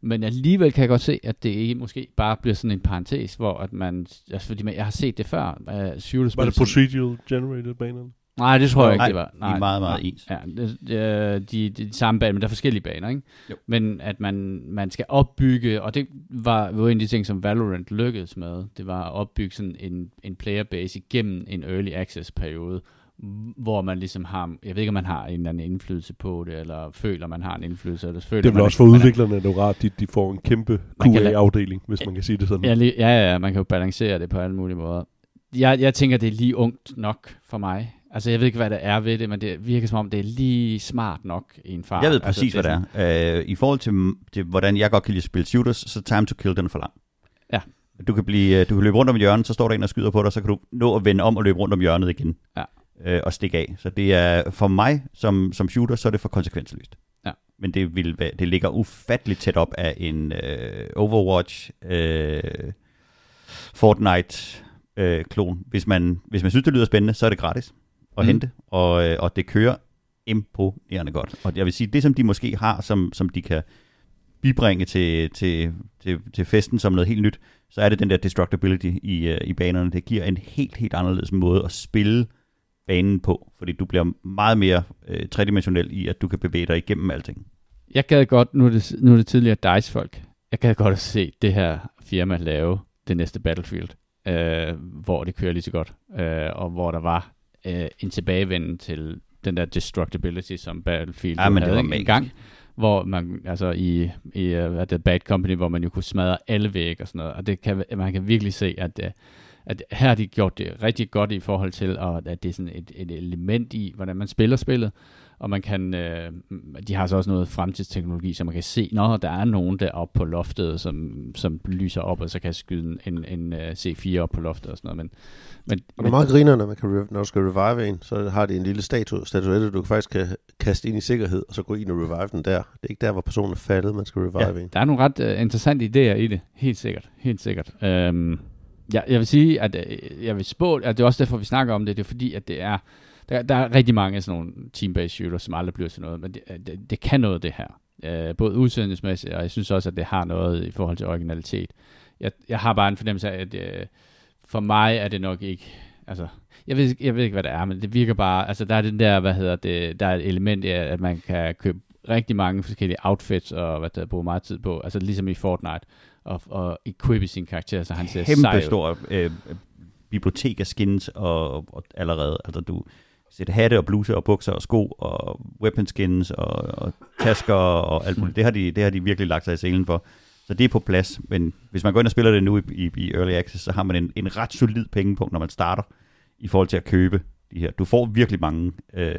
men alligevel kan jeg godt se, at det ikke måske bare bliver sådan en parentes, hvor at man, altså fordi man, jeg har set det før, uh, Var det procedural generated banerne? Nej, det tror jeg ikke, Nej, det var. de er meget, meget ens. Ja, det, øh, de, de, de samme baner, men der er forskellige baner, ikke? Jo. Men at man, man skal opbygge, og det var jo en af de ting, som Valorant lykkedes med, det var at opbygge sådan en, en playerbase igennem en early access periode, hvor man ligesom har, jeg ved ikke, om man har en eller anden indflydelse på det, eller føler, man har en indflydelse, eller føler Det er vel man, også for udviklerne, at det er jo rart, de, de får en kæmpe Man kan lade- QA-afdeling, hvis man kan sige det sådan. Ja, lige, ja, ja, ja, man kan jo balancere det på alle mulige måder. Jeg, jeg tænker, det er lige ungt nok for mig. Altså, jeg ved ikke, hvad der er ved det, men det virker som om, det er lige smart nok i en far. Jeg ved altså, præcis, hvad det er. Øh, I forhold til, til, hvordan jeg godt kan lide at spille shooters, så er time to kill den er for lang. Ja. Du kan, blive, øh, du kan løbe rundt om hjørnet, så står der en og skyder på dig, så kan du nå at vende om og løbe rundt om hjørnet igen. Ja. Øh, og stikke af. Så det er for mig som, som shooter, så er det for konsekvensløst. Ja. Men det, vil, være- det ligger ufatteligt tæt op af en øh, Overwatch, øh, Fortnite-klon. Øh, klon. hvis, man, hvis man synes, det lyder spændende, så er det gratis at Mm. mm. hente, og, øh, og det kører imponerende godt. Og jeg vil sige, det som de måske har, som, som de kan bibringe til, til, til, til festen som noget helt nyt, så er det den der destructibility i, øh, i banerne. Det giver en helt, helt anderledes måde at spille banen på, fordi du bliver meget mere øh, tredimensionel i, at du kan bevæge dig igennem alting. Jeg gad godt, nu er det, nu er det tidligere DICE-folk, jeg gad godt at se det her firma lave det næste Battlefield, øh, hvor det kører lige så godt, øh, og hvor der var øh, en tilbagevenden til den der destructibility, som Battlefield Ja, men det havde var ikke? magisk. engang, hvor man, altså i, i øh, hvad er det Bad Company, hvor man jo kunne smadre alle vægge og sådan noget, og det kan, man kan virkelig se, at, øh, at her har de gjort det rigtig godt i forhold til, og at det er sådan et, et element i, hvordan man spiller spillet, og man kan, øh, de har så også noget fremtidsteknologi, så man kan se, når der er nogen deroppe på loftet, som, som lyser op, og så kan jeg skyde en, en, en C4 op på loftet og sådan noget. Men, men, Og det er meget griner, når, man kan, rev- når du skal revive en, så har de en lille statu, statuette, du faktisk kan kaste ind i sikkerhed, og så gå ind og revive den der. Det er ikke der, hvor personen er faldet, man skal revive ja. en. Der er nogle ret øh, interessante idéer i det, helt sikkert, helt sikkert. Øhm, ja, jeg vil sige, at øh, jeg vil spå, at det er også derfor, vi snakker om det, det er fordi, at det er, der, der er rigtig mange af sådan nogle team-based shooters, som aldrig bliver til noget, men det, øh, det, det kan noget, det her. Øh, både udsendelsesmæssigt, og jeg synes også, at det har noget i forhold til originalitet. Jeg, jeg har bare en fornemmelse af, at øh, for mig er det nok ikke, altså, jeg ved, ikke- jeg ved ikke, hvad det er, men det virker bare, altså der er den der, hvad hedder det, der er et element af, at man kan købe rigtig mange forskellige outfits, og hvad der bruger meget tid på, altså ligesom i Fortnite, og, og equippe sin karakter, så altså, han ser sej Kæmpe ud. stor øh, bibliotek af skins og, og, og allerede. Altså du sætter hatte og bluser og bukser og sko og weapon skins og, og tasker og alt muligt. Det har, de, det har de virkelig lagt sig i selen for. Så det er på plads, men hvis man går ind og spiller det nu i, i, i Early Access, så har man en, en ret solid pengepunkt, når man starter, i forhold til at købe de her. Du får virkelig mange øh,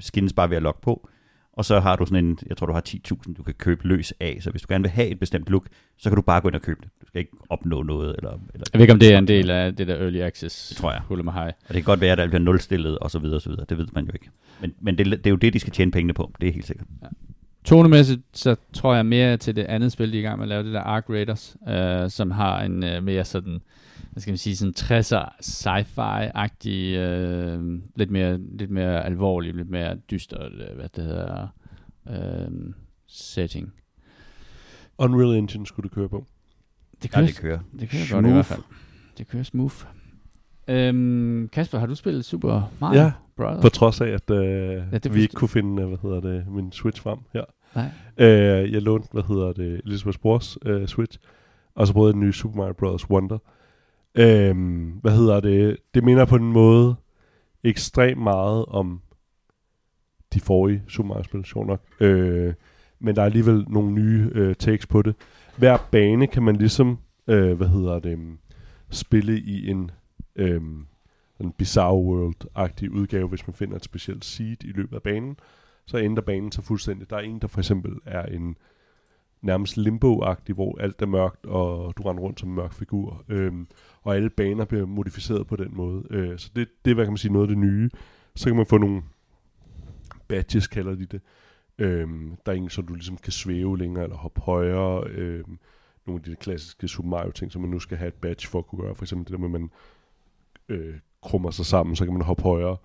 skins bare ved at logge på, og så har du sådan en, jeg tror du har 10.000, du kan købe løs af, så hvis du gerne vil have et bestemt look, så kan du bare gå ind og købe det. Du skal ikke opnå noget, eller, eller Jeg ved ikke, om det er en del af det der early access. Det tror jeg. Hulle mig hej. og det kan godt være, at der bliver nulstillet, og så videre, og så videre. Det ved man jo ikke. Men, men det, det, er jo det, de skal tjene pengene på, det er helt sikkert. Tonemæssigt, så tror jeg mere til det andet spil, de er i gang med at lave, det der Ark Raiders, øh, som har en øh, mere sådan, hvad skal man sige, sådan 60'er sci-fi-agtig, øh, lidt, mere, lidt mere alvorlig, lidt mere dyster, øh, hvad det hedder, øh, setting. Unreal Engine skulle det køre på. Det Ja, kører, det kører. det kører godt i hvert fald. Det kører smooth. Øhm, Kasper, har du spillet Super Mario Ja, Brothers? På trods af, at øh, Ja, ja, det vi ikke forstår- kunne finde, øh, hvad hedder det, min Switch frem her. Nej. Øh, jeg lånte, hvad hedder det, Elizabeth Brors øh, Switch, og så prøvede jeg den nye Super Mario Bros. Wonder. Øh, hvad hedder det, det minder på en måde ekstremt meget om de forrige Super Mario-spil, sjovt nok. Øh, men der er alligevel nogle nye øh, takes på det. Hver bane kan man ligesom, øh, hvad hedder det, mm, spille i en... Øh, en bizarre world-agtig udgave, hvis man finder et specielt seed i løbet af banen, så ændrer banen sig fuldstændig. Der er en, der for eksempel er en nærmest limbo-agtig, hvor alt er mørkt, og du render rundt som en mørk figur. Øhm, og alle baner bliver modificeret på den måde. Øh, så det, det er, hvad kan man sige, noget af det nye. Så kan man få nogle badges, kalder de det. Øhm, der er en, så du ligesom kan svæve længere, eller hoppe højere. Øhm, nogle af de klassiske Super Mario-ting, som man nu skal have et badge for at kunne gøre. For eksempel det der med, at man øh, krummer sig sammen, så kan man hoppe højere.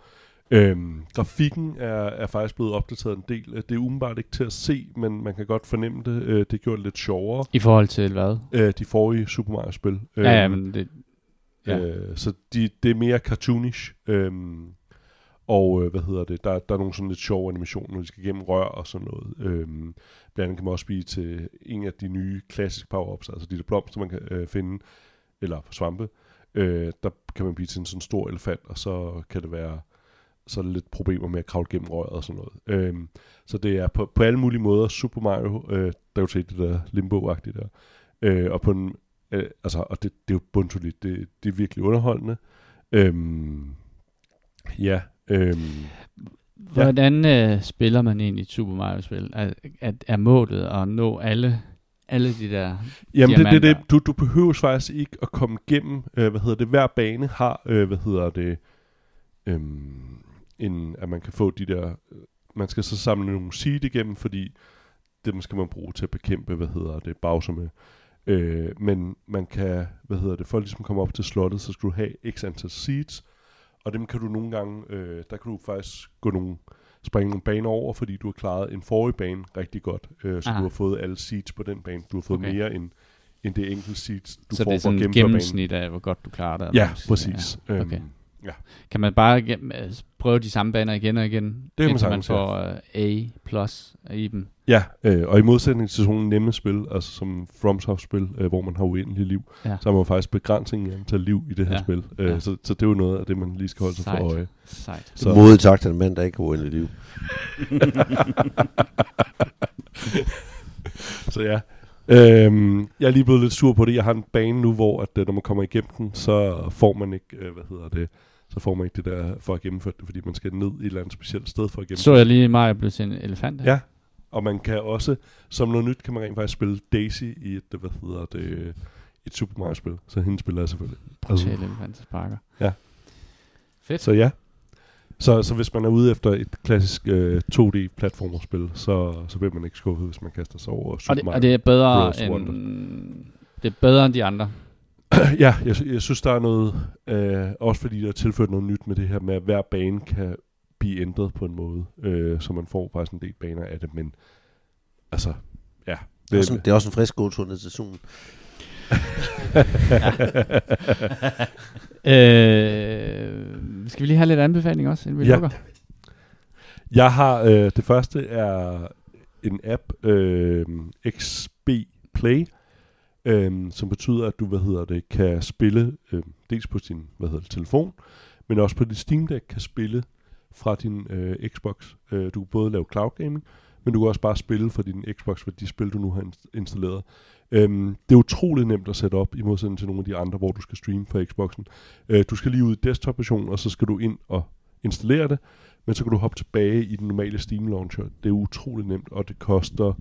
Øhm, grafikken er, er faktisk blevet opdateret en del. Øh, Det er umiddelbart ikke til at se, men man kan godt fornemme det. Øh, det er gjort lidt sjovere, I forhold til hvad? øh, de forrige Super Mario-spil. Øhm, Øh, ja, ja, men det, ja. Øh, så de, det er mere cartoonish. Øhm, Og øh, hvad hedder det, der, der er nogle sådan lidt sjove animationer, når de skal gennem rør og sådan noget. Øhm, blandt andet kan man også blive til en af de nye klassiske power-ups, altså de der blomster, man kan øh, finde, eller svampe. Øh, der kan man blive til en sådan stor elefant, og så kan det være så er der lidt problemer med at kravle gennem røret og sådan noget. Øhm, så det er på, på alle mulige måder Super Mario, øh, der er jo til det der limbo der. Øh, og på en, øh, altså, og det, det er jo bundsolid. Det, det er virkelig underholdende. Øhm, ja, øhm, Hvordan øh, spiller man egentlig et Super Mario-spil? Er, er, er målet at nå alle, alle de der... Jamen, det, det, det, Diamanter. du, du behøver faktisk ikke at komme igennem, øh, hvad hedder det, hver bane har, øh, hvad hedder det, øhm, en, at man kan få de der, øh, man skal så samle nogle seed igennem, fordi dem skal man bruge til at bekæmpe, hvad hedder det, Bowser med. Øh, men man kan, hvad hedder det, for at ligesom komme op til slottet, så skal du have x antal seeds, og dem kan du nogle gange, øh, der kan du faktisk gå nogle, springe nogle baner over, fordi du har klaret en forrige bane rigtig godt, øh, så Aha. Aha. du har fået alle seeds på den bane. Du har fået Okay. okay. mere end, end det enkelte seeds, du så får det er for at sådan et gennemføre banen. gennemsnit af, hvor godt du klarer det. Ja, Sådan, præcis. Ja. okay. Øhm, Kan man bare gennem, øh, prøve de samme baner igen og igen, det man indtil sagtens, man ja. får øh, A plus i dem? ja, øh, og i modsætning til sådan nogle nemme spil, altså som FromSoft-spil, øh, hvor man har uendelige liv, Ja. ja. så har man jo faktisk begrænsning i antal liv i det her Ja. ja. spil. Øh, Ja. så, så det er jo noget af det, man lige skal holde sig Sejt. for øje. Sejt. Så, Modigt sagt af en mand, der ikke har uendeligt liv. så ja. Øhm, jeg er lige blevet lidt sur på det. Jeg har en bane nu, hvor at, øh, når man kommer igennem den, så får man ikke, øh, hvad hedder det, så får man ikke det der for at gennemføre det, fordi man skal ned i et eller andet specielt sted for at gennemføre Så jeg lige Mario blev til en elefant? her? Ja. Og man kan også, som noget nyt, kan man rent faktisk spille Daisy i et, hvad hedder det, et Super Mario-spil. Så hende spiller jeg selvfølgelig. Brutale elefantsparker. Ja. Fedt. Så ja. Så, så hvis man er ude efter et klassisk øh, 2D-platformerspil, så, så bliver man ikke skuffet, hvis man kaster sig over Super og, det, Mario. og det er bedre Bros. end... Wonder. Det er bedre end de andre. ja, jeg, sy- jeg synes, der er noget, øh, også fordi der er tilført noget nyt med det her med, at hver bane kan blive ændret på en måde, øh, så man får faktisk en del baner af det, men altså, ja. Det er, også en, det er også en frisk god tur ned til solen. Øh, skal vi lige have lidt anbefaling også, inden vi Ja. lukker? Jeg har, øh, det første er en app, øh, XB Play, øh, som betyder, at du, hvad hedder det, kan spille, øh, dels på din, hvad hedder det, telefon, men også på din Steam Deck kan spille fra din øh, Xbox. Øh, du kan både lave cloud gaming, men du kan også bare spille fra din Xbox, for de spil, du nu har inst- installeret. Øhm, det er utroligt nemt at sætte op, i modsætning til nogle af de andre, hvor du skal streame fra Xboxen. Øh, du skal lige ud i desktop-versionen, og så skal du ind og installere det, men så kan du hoppe tilbage i den normale Steam Launcher. Det er utroligt nemt, og det koster...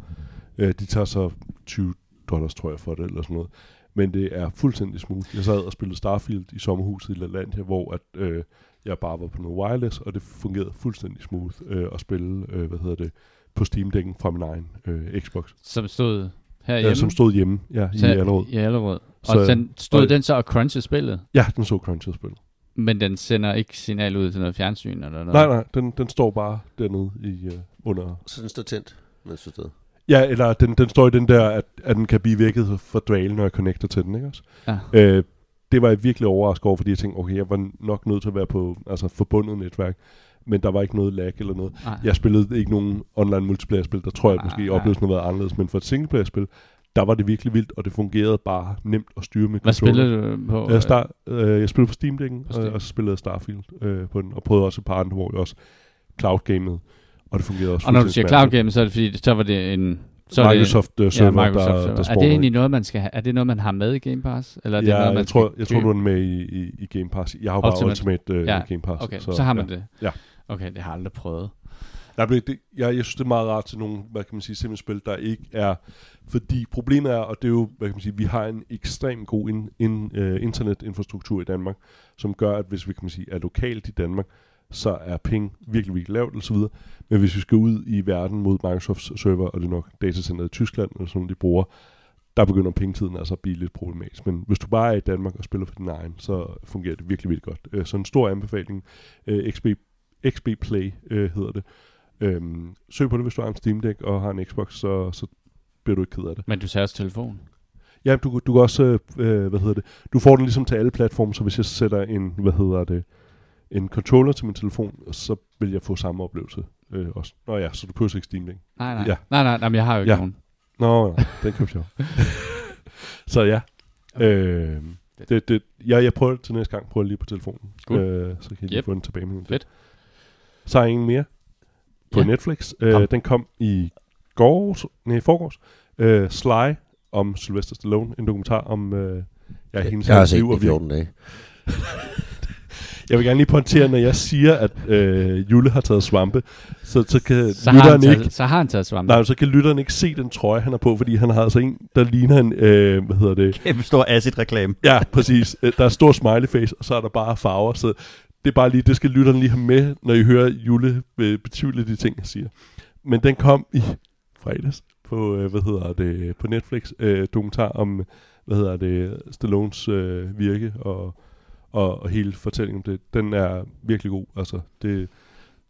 Øh, de tager så 20 dollars, tror jeg, for det, eller sådan noget. Men det er fuldstændig smooth. Jeg sad og spillede Starfield i sommerhuset i LaLandia, hvor at, øh, jeg bare var på noget wireless, og det fungerede fuldstændig smooth øh, at spille, øh, hvad hedder det, på Steam-dækken fra min egen øh, Xbox, Som stod herhjemme. øh, som stod hjemme ja, i Så- Allerød. I Allerød. Og Så- den stod og- den så og crunchede spillet, Ja, den så crunchet spil. men den sender ikke signal ud til noget fjernsyn eller noget. Nej, nej, den, den står bare dernede i, øh, under Så den står tændt, mens du sidder. Ja, eller den, den står i den der, at, at den kan blive vækket for dvale, når jeg connecter til den, ikke også? Ja. Øh, det var jeg virkelig overrasket over, fordi jeg tænkte, okay, jeg var nok nødt til at være på altså, forbundet netværk, men der var ikke noget lag eller noget. Nej. Jeg spillede ikke nogen online multiplayer-spil, der tror jeg Nej, måske nej. oplevelsen har været anderledes, men for et singleplayer-spil, der var det virkelig vildt, og det fungerede bare nemt at styre med Hvad controller. spillede du på? Jeg, star, øh, jeg spillede på Steam Deck'en, På Steam. øh, og så spillede jeg Starfield øh, på den, og prøvede også et par andre, hvor jeg også cloud gamede, og det fungerede også og når du fuldstændig siger smertefrit. cloud game, så er det fordi, så var det en... Så er det- Microsoft øh, server, ja, Microsoft der, server. der Er det spawner egentlig noget, man skal have? Er det noget, man har med i Game Pass? Eller er det ja, noget, man jeg, tror, skal jeg tror, købe? du er med i, i, i Game Pass. Jeg har jo bare Ultimate. Ultimate øh, Ja, ja. Game Pass. Okay, så, så har man ja. det. Ja. Okay, det har jeg aldrig prøvet. Der blev, det, jeg, jeg synes, det er meget rart til nogle, hvad kan man sige, simpelthen spil, der ikke er... Fordi problemet er, og det er jo, hvad kan man sige, vi har en ekstremt god in, in, uh, internetinfrastruktur i Danmark, som gør, at hvis vi kan man sige, er lokalt i Danmark, så er ping virkelig, virkelig lavt osv. Men hvis vi skal ud i verden mod Microsofts server, og det er nok datacenteret i Tyskland, eller sådan, de bruger, der begynder pengetiden altså at blive lidt problematisk. Men hvis du bare er i Danmark og spiller for din egen, så fungerer det virkelig, virkelig godt. Øh, Så en stor anbefaling. Øh, XB, XB Play øh, hedder det. Øhm, søg på det, hvis du har en Steam Deck og har en Xbox, så, så bliver du ikke ked af det. Men du tager også telefon. Ja, du, du kan også, øh, øh, hvad hedder det, du får den ligesom til alle platforme, så hvis jeg sætter en, hvad hedder det, en controller til min telefon, og så vil jeg få samme oplevelse øh, også. Nå ja, så du køber ikke Steam Link. Nej, nej. Ja. Ja. Nej, nej, nej, men jeg har jo ikke ja. Ja. nogen. Nå, nej, den købte jeg jo. Så ja. Øh, det, det, jeg, jeg prøver det til næste gang, prøver jeg lige på telefonen. Cool. Øh, så kan jeg lige Yep. yep. få den tilbage med Fedt. Så er ingen mere på Ja. ja. Netflix. Kom. Øh, den kom i går, nej, i forgårs. Øh, Sly om Sylvester Stallone, en dokumentar om øh, ja, hendes jeg har hans set liv den i og virke. 14 dage. Jeg vil gerne lige pointere, når jeg siger, at øh, Jule har taget svampe, så, så kan Så så har, han lytteren ikke taget, så har han taget svampe. Nej, men så kan lytteren ikke se den trøje, han har på, fordi han har altså en, der ligner en, øh, hvad hedder det? Kæmpe stor acid-reklame. Ja, præcis. Øh, Der er stor smiley face, og så er der bare farver, så det er bare lige, det skal lytteren lige have med, når I hører Jule øh, betvivle de ting, jeg siger. Men den kom i fredags på, øh, hvad hedder det, på Netflix, øh, dokumentar om, hvad hedder det, Stallones øh, virke og, og, og hele fortællingen om det. Den er virkelig god, altså det,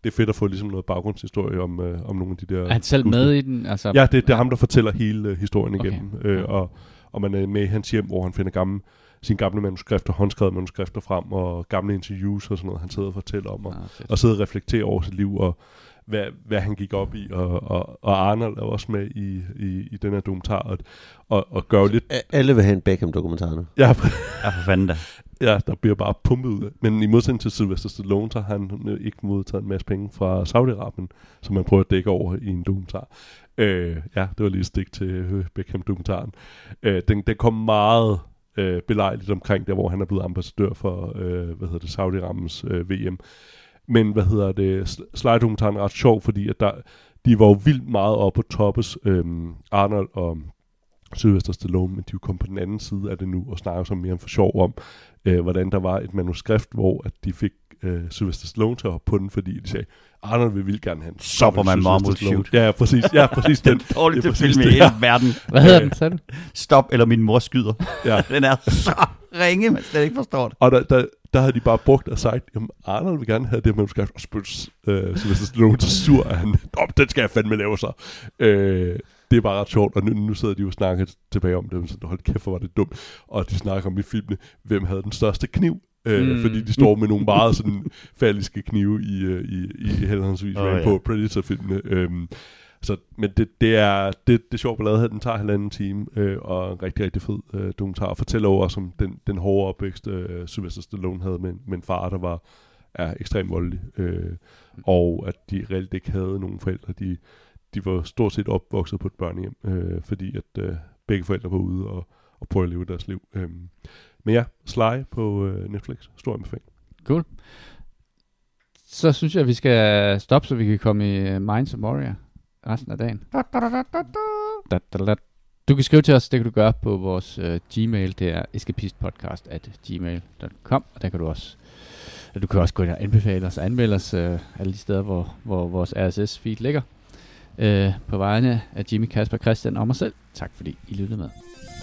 det er fedt at få ligesom noget baggrundshistorie om, øh, om nogle af de der... Er han selv skuespillere. med i den? Altså, Ja, det, det er ham, der fortæller hele øh, historien Okay. igennem. Okay. Ja. Øh, og, og man er med i hans hjem, hvor han finder gamle, sine gamle manuskrifter, håndskrevede manuskrifter frem, og gamle interviews og sådan noget, han sidder og fortæller om, og, Nå, Ah, fedt. og sidder og reflekterer over sit liv, og hvad, hvad han gik op i, og, og, og Arnold er også med i, i, i den her dokumentar, og, og, og gør jo lidt... A- Alle vil have en Beckham-dokumentar nu. Ja, Ja, for fanden da. ja, der bliver bare pumpet ud af. Men i modsætning til Sylvester Stallone, så har han øh, ikke modtaget en masse penge fra Saudi-Arabien, som man prøver at dække over i en dokumentar. Øh, ja, det var lige et stik til øh, Beckham-dokumentaren. Øh, den, den kom meget øh, belejligt omkring der, hvor han er blevet ambassadør for, øh, hvad hedder det, Saudi-Arabiens øh, VM. Men, hvad hedder det, Sly-dokumentaren er ret sjov, fordi at der, de var jo vildt meget oppe på toppes, øh, Arnold og Sylvester Stallone, men de er jo kommet på den anden side af det nu, og snakker så mere om for sjov om, øh, hvordan der var et manuskript, hvor at de fik øh, Sylvester Stallone til at hoppe på den, fordi de sagde, Arnold vil vildt gerne have en Så får man Marmot Shoot. Ja, ja, præcis, ja, præcis den. Dårligste Det er præcis film i det, hele ja. verden. Hvad hedder den, sagde du? Stop, eller min mor skyder. Ja. Den er så ringe, man slet ikke forstår det. Og der, der, der havde de bare brugt og sagt, jamen Arnold vil gerne have det her manuskript, og spødt øh, Sylvester Stallone så sur, at han, Nå, den skal jeg fandme lave så. Øh, det er bare ret sjovt, og nu, nu sidder de jo og snakker tilbage om det, og sådan, hold kæft, hvor var det dumt. Og de snakker om i filmene, hvem havde den største kniv, øh, Mm. mm. fordi de står med nogle meget sådan falliske knive i, øh, i, i henholdsvis Åh, oh, ja. ja. på Predator-filmene. Øhm, så, men det, det er det, det er sjovt ballade her. Den tager halvanden time, øh, og er en rigtig, rigtig fed øh, dokumentar. Og fortæller over som den, den hårde opvækst, øh, Sylvester Stallone havde med, en- med en far, der var er ekstremt voldelig. Øh, og at de reelt ikke havde nogen forældre. De, de var stort set opvokset på et børnehjem, øh, fordi at øh, begge forældre var ude og, og prøvede at leve deres liv. Øh. Men ja, Sly på øh, Netflix. Stor anbefaling. Så synes jeg, at vi skal stoppe, så vi kan komme i øh, Minds of Moria resten af dagen. Da, da, da. Du kan skrive til os, det kan du gøre på vores øh, Gmail, det er escapistpodcast at gmail.com, og der kan du også og du kan også gå ind og anbefale os og anmelde os øh, alle de steder, hvor, hvor vores RSS-feed ligger. Øh, på vegne af Jimmy, Kasper, Christian og mig selv. Tak fordi I lyttede med.